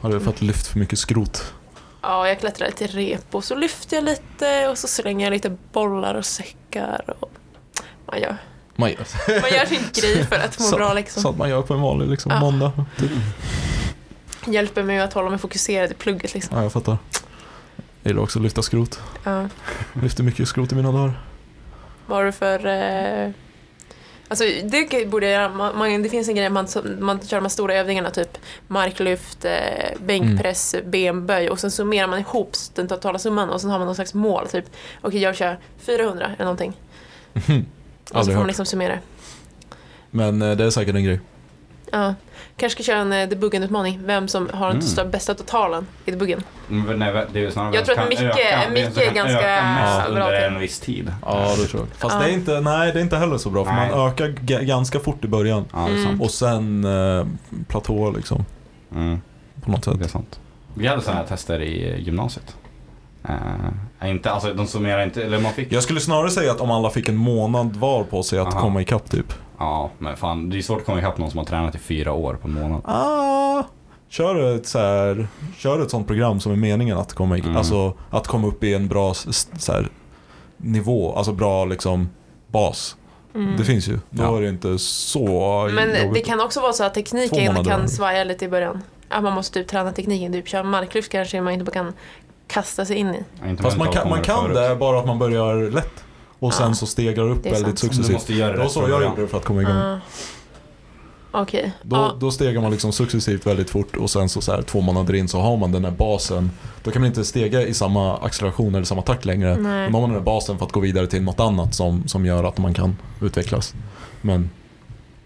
S4: Har du fått lyft för mycket skrot?
S1: Ja, jag klättrar lite rep och så lyfter jag lite och så slänger jag lite bollar och säckar. Och man, gör,
S4: Man gör,
S1: man gör sin grej för att må
S4: Så-
S1: bra liksom.
S4: sånt man gör på en vanlig liksom,
S1: Ja.
S4: måndag.
S1: Hjälper mig att hålla mig fokuserad i plugget liksom.
S4: Ja, jag fattar. Jag gillar också att lyfta skrot.
S1: Ja.
S4: Lyfter mycket skrot i mina dagar.
S1: Vad har du för... Eh, alltså det borde jag göra. Man, man, det finns en grej man, som- man kör de här stora övningarna, typ marklyft, eh, bänkpress,
S4: Mm.
S1: benböj och sen summerar man ihop den totala summan och sen har man någon slags mål. Typ, okej jag kör 400 eller någonting.
S4: Mm.
S1: Och så
S4: Aldrig
S1: får man
S4: hört.
S1: liksom summera.
S4: Men eh, det är säkert en grej.
S1: Ja. Kanske ska köra en eh, debuggen-utmaning, vem som har den
S3: Mm.
S1: största, bästa totalen i debuggen.
S3: Men nej, det är ju snarare
S1: Jag tror att
S3: kan
S1: Micke-
S3: öka-
S1: Micke
S3: kan
S1: är ganska
S3: öka mest
S1: bra
S3: under
S1: till.
S3: en viss tid.
S4: Ja, det tror jag. Fast
S1: Ja.
S4: det, är inte, nej, det är inte heller så bra för
S3: Nej.
S4: man ökar g- ganska fort i början.
S3: Ja,
S1: Mm.
S3: det är sant.
S4: Och sen eh, platå liksom
S3: Mm,
S4: på något
S3: det är
S4: sätt.
S3: sant. Vi hade sådana här tester i gymnasiet. Eh, inte, alltså de summerar inte, eller man fick...
S4: Jag skulle snarare säga att om alla fick en månad var på sig att
S3: Aha.
S4: komma ikapp typ.
S3: Ja, men fan det är svårt att komma ikapp någon som har tränat i fyra år på en månad.
S4: Ah, kör, ett så här, kör ett sånt program som är meningen att komma, i,
S3: Mm.
S4: alltså, att komma upp i en bra s- s- så här, nivå, alltså bra liksom bas. Det finns ju. Då
S3: Ja.
S4: är det inte så
S1: Mm. Men det
S4: jobbigt.
S1: kan också vara så att
S4: Två
S1: tekniken
S4: månader.
S1: kan svaja lite i början. Att man måste typ träna tekniken, typ köra marklyft kanske man inte kan kasta sig in i.
S3: Ja, inte
S4: Fast
S3: med
S4: man
S3: tal
S4: kan,
S3: kommer
S4: man kan
S3: förut.
S4: det bara att man börjar lätt. Och sen
S1: Ja.
S4: så stegar upp
S1: Det är
S4: väldigt
S1: sant.
S3: Du
S4: successivt.
S3: måste göra
S4: Det var
S3: rätt
S4: så
S3: från
S4: jag
S3: början.
S4: gjorde för att komma igång.
S1: Ja. Ah. Okej.
S4: Då,
S1: Ja.
S4: då stegar man liksom successivt väldigt fort och sen så, så här, två månader in så har man den här basen. Då kan man inte stega i samma acceleration eller samma takt längre.
S1: Nej.
S4: Men då har man den här basen för att gå vidare till något annat som, som gör att man kan utvecklas. Men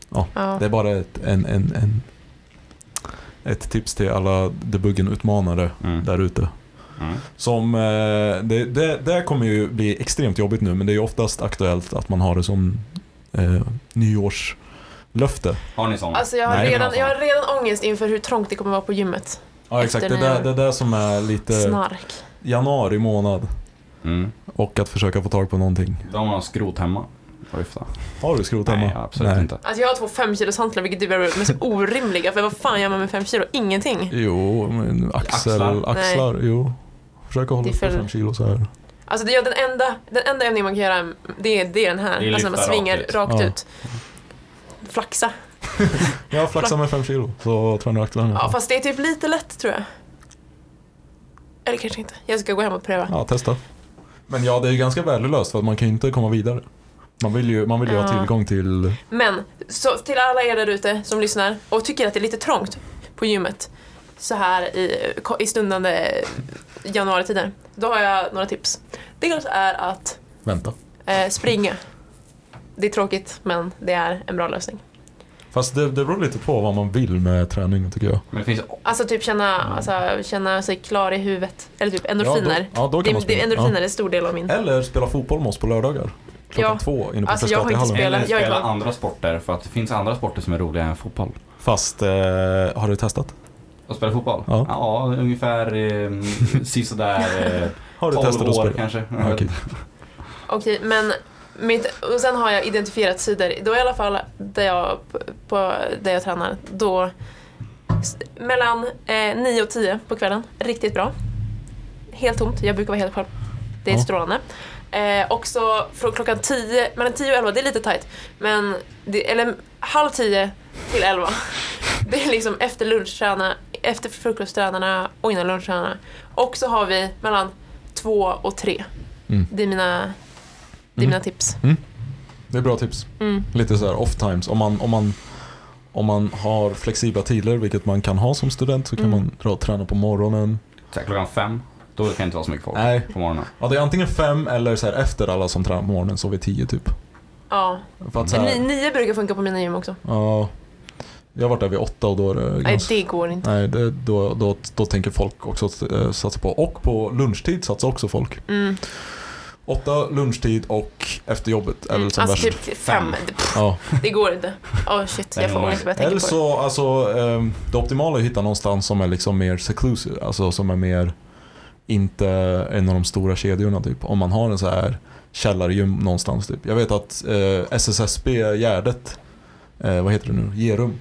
S1: Ja.
S4: det är bara ett, en, en, en, ett tips till alla debuggen-utmanare
S3: Mm.
S4: där ute.
S3: Mm.
S4: Som, eh, det, det, det här kommer ju bli extremt jobbigt nu men det är ju oftast aktuellt att man har det som eh, nyårslöfte.
S3: Har ni sådana?
S1: Alltså jag har,
S4: Nej, men
S1: redan,
S3: alltså.
S1: jag har redan ångest inför hur trångt det kommer vara på gymmet.
S4: Ja exakt,
S1: Efter
S4: det är
S1: nyår.
S4: det, det där som är lite
S1: Snark.
S4: januari månad
S3: Mm.
S4: och att försöka få tag på någonting.
S3: Då har man skrot hemma och lyfta.
S4: Har du skrot hemma?
S3: Nej, absolut inte.
S1: Alltså jag har två 5 kilos hantlar vilket är det mest orimliga för vad fan gör man med 5 kilo? Ingenting.
S4: Jo, men axel,
S3: Axlar.
S4: axlar, jo. Försöka hålla
S1: Det är
S4: upp för
S1: för-
S4: fem kilo så här.
S1: Alltså det, ja, den, enda, den enda övning man kan göra det är, det är den här.
S3: Det är
S1: alltså när man
S3: lyfta rakt
S1: svingar
S3: ut.
S1: rakt,
S4: Ja.
S1: ut. Flaxa.
S4: Jag flaxar med fem kilo så tränar jag axlarna.
S1: Ja fast det är typ lite lätt tror jag. Eller kanske inte. Jag ska gå hem och pröva.
S4: Ja, testa. Men ja, det är ju ganska värdelöst för att man kan ju inte komma vidare. Man vill ju, man vill ju
S1: Ja.
S4: ha tillgång till...
S1: Men så till alla er där ute som lyssnar och tycker att det är lite trångt på gymmet så här i, i stundande januaritider. Då har jag några tips. Dels är att
S4: Vänta.
S1: eh, springa. Det är tråkigt men det är en bra lösning.
S4: Fast det, det beror lite på vad man vill med träningen tycker jag.
S3: Men det finns
S1: Alltså typ känna, alltså, känna sig klar i huvudet. Eller typ endorfiner.
S4: Ja, då, ja, då kan man
S1: det, det,
S4: spela.
S1: endorfiner
S4: Ja.
S1: är en stor del av min...
S4: Eller spela fotboll med oss på lördagar. Klockan
S1: Ja.
S4: två inne på
S1: Alltså, jag har inte
S4: Frescatihallen.
S1: spelat.
S3: Eller
S1: jag är
S3: spela
S1: klar.
S3: andra sporter för att det finns andra sporter som är roligare än fotboll.
S4: Fast, eh, har du testat?
S3: Att spela fotboll?
S4: Ja.
S3: ungefär eh, sisådär eh,
S4: Har du
S3: 12
S4: testat att
S3: år
S4: spela?
S3: kanske. Jag
S4: Ja,
S3: vet
S4: okej.
S3: inte.
S1: Okej, men mitt, och sen har jag identifierat sidor. Då i alla fall där jag, på, där jag tränar, då s- mellan eh, 9 och 10 på kvällen, riktigt bra. Helt tomt, jag brukar vara helt själv. Det är
S4: Ja.
S1: strålande. Eh, också från klockan 10, mellan 10 och 11, det är lite tajt. Men, det, eller halv 10 till 11. Det är liksom efter lunch träna, efter frukosttränarna och innan lunchtränarna. Och så har vi mellan två och tre.
S4: Mm.
S1: Det är mina, det är
S4: Mm.
S1: mina tips.
S4: Det är bra tips.
S1: Mm.
S4: Lite så här off times. Om man, om, man, om man har flexibla tider, vilket man kan ha som student, så kan
S1: Mm.
S4: man dra och träna på morgonen.
S3: Så här, klockan fem, då kan det inte vara så mycket folk
S4: Nej.
S3: på morgonen.
S4: Ja, det är antingen fem eller så här efter alla som tränar på morgonen så vid tio typ.
S1: Ja.
S4: För att så
S1: Ni,
S4: här,
S1: nio brukar funka på mina gym också.
S4: ja, jag har varit där vid åtta och då är det
S1: Nej,
S4: ganska-
S1: det går inte.
S4: Nej, det, då, då, då tänker folk också att, eh, satsa på. Och på lunchtid satsar också folk.
S1: Mm.
S4: Åtta lunchtid och efter jobbet är
S1: Mm.
S4: väl som
S1: Alltså
S4: liksom värst.
S1: typ fem. Det, pff,
S4: Ja.
S1: det går inte. Åh shit,
S3: Nej,
S1: jag får
S3: men-
S1: ångest bara jag tänker
S4: Eller
S1: på det.
S4: så, alltså, ehm, det optimala är att hitta någonstans som är liksom mer seclusive, alltså som är mer inte en av de stora kedjorna typ. Om man har en så här källargym någonstans typ. Jag vet att eh, SSSB Gärdet, eh, vad heter det nu, Gerum.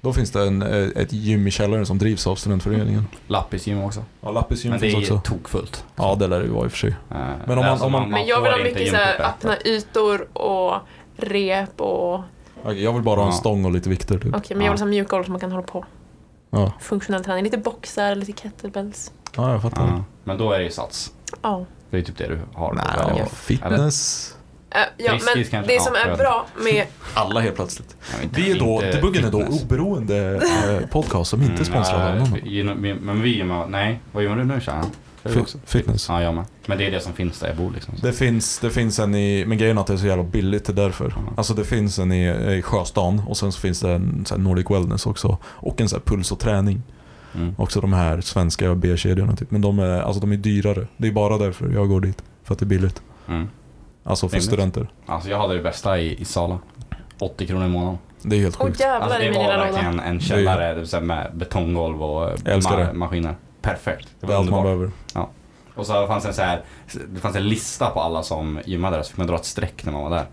S4: Då finns det en, eh, ett gym i källaren som drivs av studentföreningen.
S3: Lappisgym också.
S4: Ja, Lappis gym
S3: Men det
S4: finns
S3: är
S4: också.
S3: tokfullt. Eh, alltså
S4: Ja, det lär det ju vara i och för sig.
S3: Men
S4: om man- om man-
S1: Men jag vill ha mycket så här,
S3: öppna...
S1: öppna ytor och rep och... Okej,
S4: Okej, jag vill bara ha en
S3: Ja.
S4: stång och lite vikter typ.
S1: men jag
S3: Ja.
S1: vill ha mjuka golv som man kan hålla på.
S4: Ja,
S1: Funktionell träning. Lite boxar, lite kettlebells.
S4: ja jag fattar.
S3: Ja. Men då är det ju sats.
S1: Ja.
S3: Det är typ det du har.
S4: Nej,
S3: att välja
S4: ja,
S3: på.
S4: fitness.
S1: Eh, ja,
S3: Friskis
S1: men
S3: kanske.
S1: det
S3: Ja,
S1: som
S3: för
S1: är
S3: att-
S1: bra med...
S4: Alla helt plötsligt.
S3: Ja, inte-
S4: Vi är då,
S3: inte
S4: Debuggen är då
S3: fitness.
S4: oberoende eh, podcast som inte är sponsrad av någon.
S3: Mm, nej, vi- vi- Men vi gymmar, nej, vad gymmar du nu Shahan?
S4: Fi- Fitness.
S3: Ja, jag med. Men det är det som finns där jag bor liksom.
S4: Det finns, det finns en i, men grejen är att det är så jävla billigt, det är därför.
S3: Mm.
S4: Alltså det finns en i, i Sjöstan och sen så finns det en så här Nordic Wellness också. Och en så här puls och träning.
S3: Mm.
S4: Också de här svenska B-kedjorna typ. Men de är, alltså de är dyrare. Det är bara därför jag går dit. För att det är billigt.
S3: Mm.
S4: Alltså för
S3: Rimligt.
S4: studenter.
S3: Alltså jag hade det bästa i, i Sala. 80 kronor i månaden.
S4: Det är helt
S1: Åh
S4: sjukt.
S1: jävlar
S3: Alltså
S1: i
S3: det
S1: min
S3: var
S1: lilla låda.
S3: verkligen en källare det vill säga, med betonggolv och eh,
S4: Jag älskar
S3: ma-
S4: det.
S3: maskiner. Perfekt. Det
S4: Det
S3: var
S4: är allt man
S3: underbart.
S4: behöver.
S3: Och så fanns det, en så här, det fanns en lista på alla som gymmade där så fick man dra ett streck när man var där.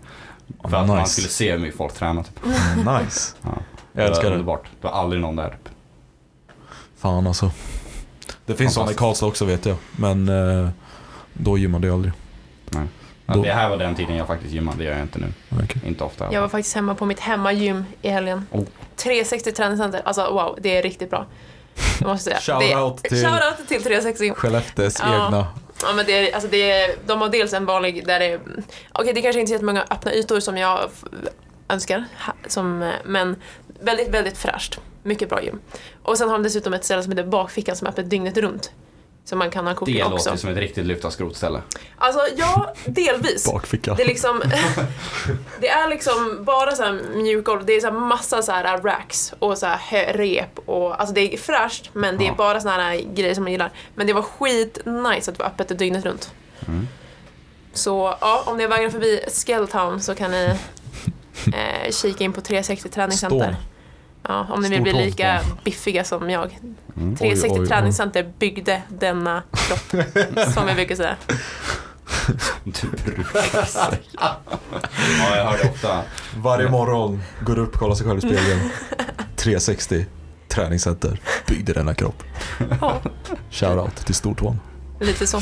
S3: För att man
S4: nice.
S3: skulle se hur mycket folk tränade. Typ.
S4: Mm, Nice.
S3: Ja.
S4: Jag
S3: det.
S4: älskar
S3: var
S4: det.
S3: Underbart. Det var aldrig någon där. Typ.
S4: Fan alltså. Det finns sådana i
S3: Fantastiskt.
S4: Karlstad också vet jag. Men eh, då gymmade jag aldrig.
S3: Ja,
S4: Då-
S3: Det här var den tiden jag faktiskt gymmade. Det gör jag inte nu.
S4: Okej.
S3: Inte ofta.
S1: Jag var faktiskt hemma på mitt hemmagym i helgen.
S3: Oh.
S1: 360 träningscenter. Alltså wow, det är riktigt bra. Jag måste säga. det,
S4: Shoutout till-
S1: Shoutout till 360.
S4: Skellefteås
S1: Ja.
S4: egna.
S1: Ja, men det är, alltså det är, de har dels en vanlig där det är... Okej, det kanske inte är så många öppna ytor som jag f- önskar, ha, som, eh, men väldigt, väldigt fräscht. Mycket bra gym. Och sen har de dessutom ett ställe som heter Bakfickan som är öppet dygnet runt. Som man kan ha
S3: det
S1: kokning
S3: låter
S1: också.
S3: som ett riktigt lyfta skrotställe.
S1: Alltså, ja, delvis.
S4: Bakficka.
S1: Det är liksom, det är liksom bara så här mjukgolv, det är så här massa så här racks och så här hö- rep och alltså det är fräscht men det är
S3: Ja.
S1: bara såna här grejer som man gillar. Men det var skitnice att det var öppet dygnet runt.
S3: Mm.
S1: Så ja, om ni vägrar förbi Skelltown så kan ni eh, kika in på 360
S4: Stål.
S1: träningscenter. Ja, om ni vill bli
S4: Stortån,
S1: lika
S4: stål.
S1: biffiga som jag.
S3: Mm.
S1: 360
S4: Oj, oj, oj.
S1: träningscenter byggde denna kropp, som jag brukar säga.
S3: Du brukar säga. ja, jag hör det ofta.
S4: Varje morgon går upp, kollar sig själv i spegeln. 360, träningscenter, byggde denna kropp.
S1: Ja,
S4: Shoutout till stortån.
S1: lite så.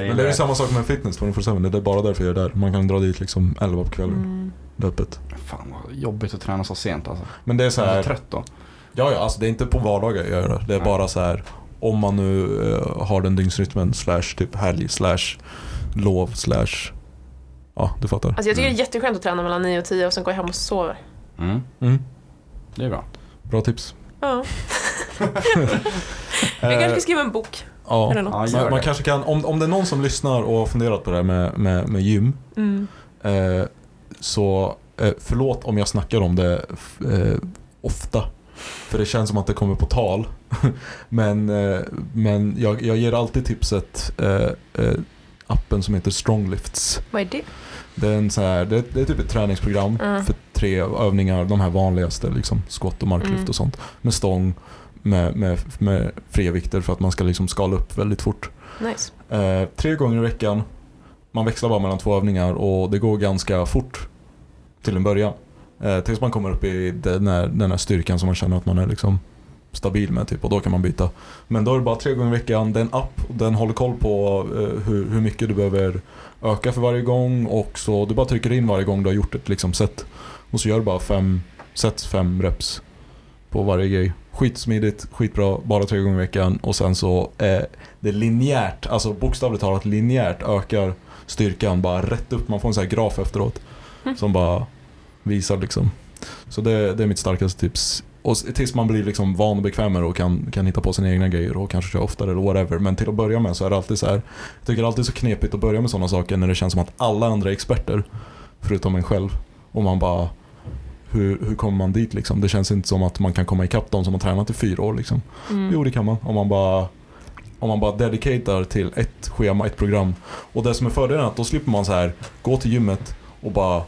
S4: Men det är
S3: gillar
S4: ju samma sak med fitness 24-7, det är bara därför jag är där. Man kan dra dit liksom 11 på kvällen.
S1: Mm.
S4: Det är öppet.
S3: Fan vad jobbigt att träna så sent alltså.
S4: Men det är
S3: Så
S4: så
S3: jag är
S4: här,
S3: så trött då.
S4: ja ja, alltså det är inte på vardagar jag gör det. Det är
S3: Nej.
S4: bara så här, om man nu eh, har den dygnsrytmen, slash typ helg, slash lov, slash Ja, du fattar.
S1: Alltså jag tycker
S3: Mm.
S1: det är jätteskönt att träna mellan 9 och 10 och sen gå hem och sova.
S3: Mm.
S4: Mm,
S3: Det är bra.
S4: bra tips.
S1: Ja.
S4: Eh,
S1: Jag kanske ska skriva en bok
S4: ja.
S1: eller något.
S3: Ja, gör
S4: Man, man
S3: det.
S4: kanske kan, om, om det är någon som lyssnar och har funderat på det här med, med, med gym.
S1: Mm.
S4: Eh, så eh, förlåt om jag snackar om det f- eh, ofta. För det känns som att det kommer på tal. men eh, men jag, jag ger alltid tipset eh, eh, appen som heter Stronglifts.
S1: Vad är det?
S4: Det är, en så här, det, det är typ ett träningsprogram
S1: Mm.
S4: för tre övningar, de här vanligaste, liksom squat och marklyft
S1: Mm.
S4: och sånt. Med stång, med, med, med frivikter för att man ska liksom skala upp väldigt fort.
S1: Nice.
S4: Eh, tre gånger i veckan. Man växlar bara mellan två övningar och det går ganska fort till en början. Eh, tills man kommer upp i den här, den här styrkan som man känner att man är liksom stabil med typ, och då kan man byta. Men då är det bara tre gånger i veckan, det är en app och den håller koll på eh, hur, hur mycket du behöver öka för varje gång och så du bara trycker in varje gång du har gjort ett liksom, set. Och så gör du bara fem sets, fem reps. på varje grej. Skitsmidigt, skitbra, bara tre gånger i veckan och sen så eh, det linjärt, alltså bokstavligt talat linjärt ökar styrkan bara rätt upp. Man får en sån här graf efteråt
S1: Mm.
S4: som bara visar liksom. Så det, det är mitt starkaste tips. Och s- tills man blir liksom van och bekväm med det och kan, kan hitta på sina egna grejer och kanske köra oftare eller whatever. Men till att börja med så är det alltid så här. Jag tycker det är alltid så knepigt att börja med sådana saker när det känns som att alla andra är experter. Förutom en själv. Och man bara, hur, hur kommer man dit liksom? Det känns inte som att man kan komma ikapp de som har tränat i fyra år liksom.
S1: Mm.
S4: Jo, det kan man. Om man bara om man bara dedicatar till ett schema, ett program. Och det som är fördelen är att då slipper man så här gå till gymmet och bara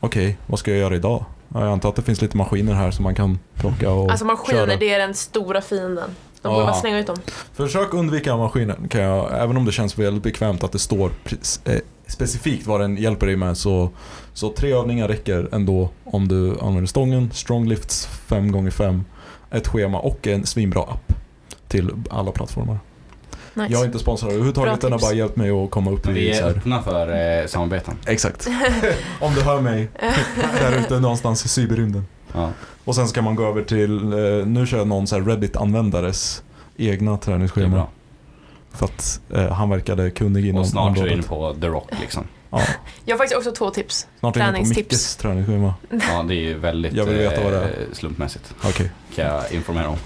S4: okej, vad ska jag göra idag? Ja, Jag antar att det finns lite maskiner här som man kan plocka och
S1: Alltså maskiner,
S4: köra.
S1: det är den stora fienden. De
S4: Ja.
S1: borde bara slänga ut dem.
S4: Försök undvika maskinen, kan jag, även om det känns väldigt bekvämt att det står pres- eh, specifikt vad den hjälper dig med. Så, så tre övningar räcker ändå om du använder stången, strong lifts 5x5, ett schema och en svinbra app till alla plattformar.
S1: Nice.
S4: Jag är inte sponsrad överhuvudtaget,
S1: Bra
S4: den har
S1: tips.
S4: bara hjälpt mig att komma upp
S3: Vi
S4: i
S3: är
S4: så här.
S3: öppna för eh, samarbeten.
S4: Exakt. Om du hör mig där ute någonstans i cyberrymden.
S3: Ja.
S4: Och sen ska man gå över till, eh, nu kör jag någon så här Reddit-användares egna
S3: Det är
S4: träningsschema.
S3: bra.
S4: För att eh, han verkade kunnig inom
S3: Och snart är vi inne
S4: området.
S3: på The Rock liksom.
S4: Ja,
S1: Jag har faktiskt också två tips.
S4: snart är vi inne på
S1: Träningstips.
S4: Mickes träningsschema.
S3: Ja, det är ju väldigt
S4: Jag vill veta vad det
S3: eh, slumpmässigt.
S4: Okej.
S3: Kan jag informera om.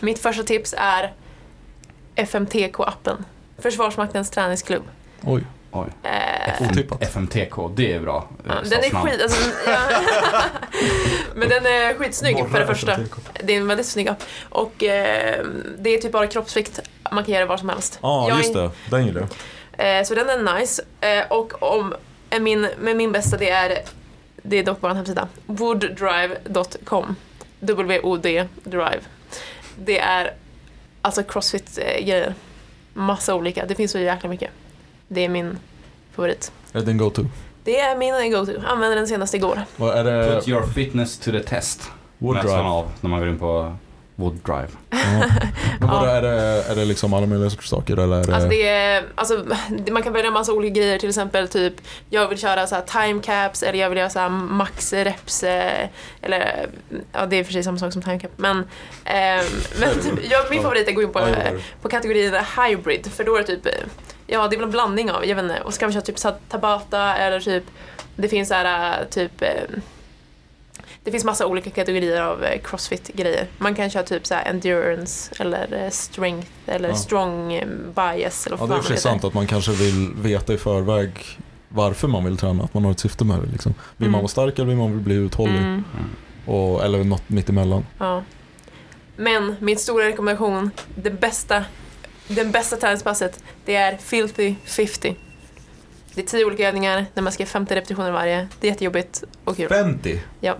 S1: Mitt första tips är FMTK-appen. Försvarsmaktens träningsklubb.
S4: Oj,
S3: Oj.
S1: Eh,
S4: otippat.
S3: FMTK, det är bra. eh,
S1: ja, den är
S3: stadsnamn.
S1: skit... Alltså, ja. Men den är skitsnygg för det första. Det är en väldigt snygg app. Och eh, det är typ bara kroppsvikt. Man kan göra det var som helst.
S4: Ja,
S1: Jag är
S4: just det. Den gillar jag.
S1: Eh, så den är nice. Eh, och om, eh, min, men min bästa det är, det är dock vår hemsida, wooddrive.com. W-O-D drive. Det är alltså crossfit-grejer. Massa olika, det finns så jäkla mycket. Det är min favorit.
S4: Är den go-to?
S1: Det är min go-to, använde den senast igår.
S4: Vad är det?
S3: Put your fitness to the test.
S4: Wood
S3: Möts man
S4: drive?
S3: av när man går in på Wood Drive.
S4: Ja. Men vadå, är, det, är det liksom alla möjliga sorters saker eller? Är det...
S1: Alltså det är, alltså, det- man kan välja en massa olika grejer, till exempel typ jag vill köra så här time caps eller jag vill göra så här max reps eh, eller ja det är i och för sig samma sak som time cap men, ehm, men typ, jag, min favorit är att gå in på,
S4: Ja, jag gillar det.
S1: på kategorin hybrid för då är det typ eh, ja det är väl en blandning av, jag vet inte, och så kan man köra typ så här tabata eller typ det finns så här eh, typ eh, det finns massa olika kategorier av eh, crossfit-grejer. Man kan köra typ så här endurance eller eh, strength eller
S4: Ja.
S1: strong eh, bias eller
S4: Ja,
S1: vad
S4: det är i och för
S1: fan
S4: sig sant att man kanske vill veta i förväg varför man vill träna, att man har ett syfte med det. Liksom. Vill
S1: Mm.
S4: man vara stark eller vill man bli uthållig?
S1: Mm,
S4: Och, eller något mitt emellan.
S1: ja. Men min stora rekommendation, det bästa, den bästa träningspasset, det är Filthy 50. Det är tio olika övningar där man ska göra 50 repetitioner varje. Det är jättejobbigt och kul.
S4: 50?
S1: Ja.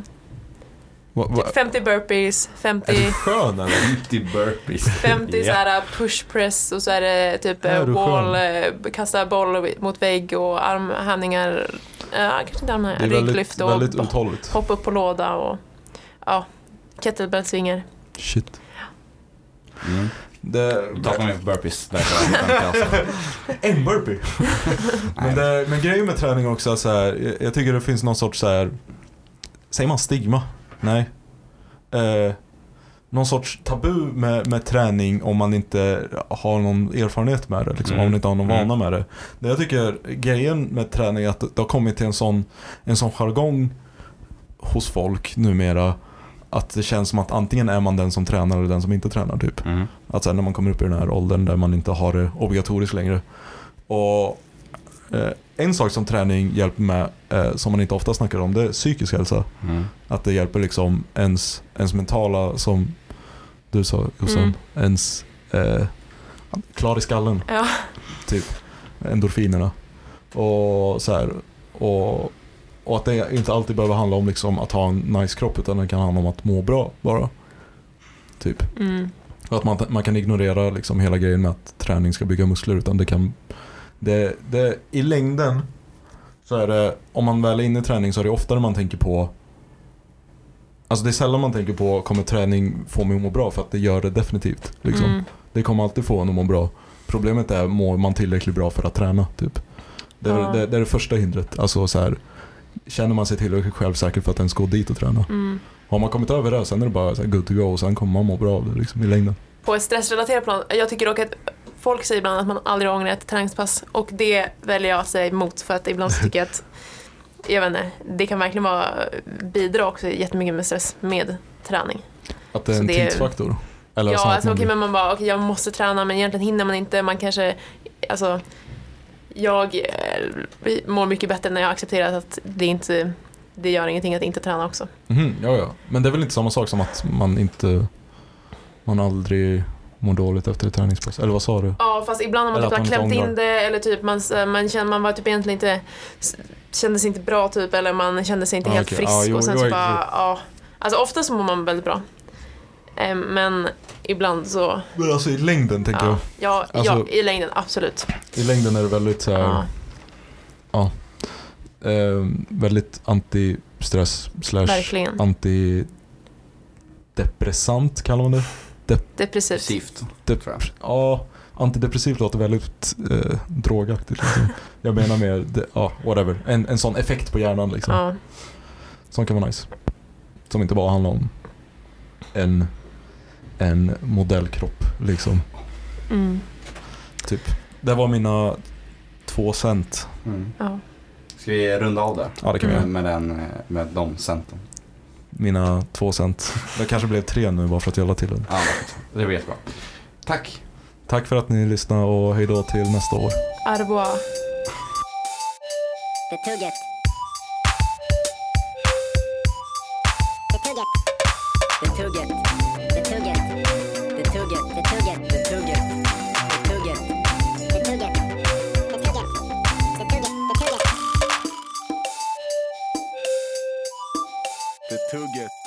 S4: Va, va,
S1: Typ 50 burpees, 50,
S4: är du skön eller?
S3: 50 burpees.
S1: 50 så
S3: Ja.
S1: här push press och så är det typ
S4: Ja,
S1: eh,
S4: du är
S1: wall,
S4: skön.
S1: eh, kasta boll mot vägg och armhävningar, eh, kanske inte
S4: Det är
S1: armhävningar,
S4: väldigt,
S1: rygglyft och
S4: väldigt uthålligt.
S1: hoppa upp på låda och ja, kettlebellsvingar.
S4: Shit.
S3: Mm.
S4: Det,
S3: Då tappar man ju på burpees. Där kan jag tänka, alltså.
S4: en burpee. men, det, men grejen med träning också är så här, jag, jag tycker det finns någon sorts så här, säger man stigma? Nej. Eh, någon sorts tabu med, med träning om man inte har någon erfarenhet med det. Liksom,
S3: Mm.
S4: Om man inte har någon
S3: Mm.
S4: vana med det. det. Jag tycker grejen med träning är att det har kommit till en sån, en sån jargong hos folk numera. Att det känns som att antingen är man den som tränar eller den som inte tränar typ.
S3: Mm.
S4: Att sen när man kommer upp i den här åldern där man inte har det obligatoriskt längre. Och eh, En sak som träning hjälper med, eh, som man inte ofta snackar om, det är psykisk hälsa.
S3: Mm.
S4: Att det hjälper liksom ens, ens mentala, som du sa Jossan,
S1: Mm.
S4: ens eh, klar i skallen,
S1: Ja.
S4: typ endorfinerna. Och så här, och, och att det inte alltid behöver handla om liksom att ha en nice kropp utan det kan handla om att må bra bara. Typ.
S1: Mm.
S4: Och Att man, man kan ignorera liksom hela grejen med att träning ska bygga muskler utan det kan... Det, det, I längden så är det, om man väl är inne i träning så är det oftare man tänker på Alltså det är sällan man tänker på kommer träning få mig att må bra för att det gör det definitivt. Liksom.
S1: Mm.
S4: Det kommer alltid få en att må bra. Problemet är, mår man tillräckligt bra för att träna? Typ. Det, är,
S1: Ja.
S4: det, det är det första hindret. Alltså så här, känner man sig tillräckligt självsäker för att ens gå dit och träna.
S1: Mm.
S4: Har man kommit över det sen är det bara så här good to go och sen kommer man må bra av det liksom, i längden.
S1: På ett stressrelaterat plan, jag tycker dock att folk säger ibland att man aldrig ångrar ett träningspass och det väljer jag att säga emot för att ibland så tycker jag att jag vet inte, det kan verkligen vara, bidra också jättemycket med stress med träning.
S4: Att det är
S1: Så
S4: en
S1: det är-
S4: tidsfaktor. Eller
S1: ja,
S4: så att
S1: alltså,
S4: man
S1: okej,
S4: blir-
S1: men man bara, okej, jag måste träna men egentligen hinner man inte. Man kanske, alltså, jag eh, mår mycket bättre när jag har accepterat att det inte, det gör ingenting att inte träna också.
S4: Mhm, ja, ja. Men det är väl inte samma sak som att man inte, man aldrig mår dåligt efter ett träningspass? Eller vad sa du?
S1: Ja, fast ibland har man
S4: Eller
S1: typ
S4: att
S1: har
S4: man
S1: klämt
S4: inte
S1: in
S4: ångrar.
S1: det eller typ man, s- man känner, man var typ egentligen inte, s- kände sig inte bra typ eller man kände sig inte
S4: Ja,
S1: helt
S4: Ah, okej.
S1: frisk
S4: Ja, jo,
S1: och sen så
S4: jo,
S1: bara,
S4: exakt.
S1: ja. Alltså ofta så mår man väldigt bra. Eh, Men ibland så,
S4: Men alltså i längden tänker
S1: ja, ja, ja,
S4: Alltså-
S1: i längden absolut.
S4: jag. I längden är det väldigt så här,
S1: Ja.
S4: eh, väldigt anti-stress slash
S1: Verkligen.
S4: antidepressant kallar man det.
S1: Depressivt.
S3: Precis.
S4: Dep-
S3: Tror jag.
S4: ja, antidepressivt låter väldigt eh, drogaktigt. Liksom. jag menar mer, det- ja, whatever. En, en sån effekt på hjärnan liksom.
S1: Ja.
S4: Som kan vara nice. Som inte bara handlar om en, en modellkropp liksom.
S1: Mm.
S4: Det var mina två cent.
S3: Mm.
S1: Ja.
S3: Ska vi runda av där?
S4: Ja, det kan vi
S3: Med,
S4: göra.
S3: med, den, eh, med de centen.
S4: Mina två cent. Det kanske blev tre nu bara för att jag la till det.
S3: Ja, det var jättebra. Tack.
S4: Tack för att ni lyssnade och hej då till nästa år.
S1: Arboa.
S2: The Tuget. The Tuget. The Tuget. The Tuget. The Tuget. The Tuget. The Tuget. The Tuget. The Tuget. The Tuget. The Tuget. The Tuget.
S6: The Tuget.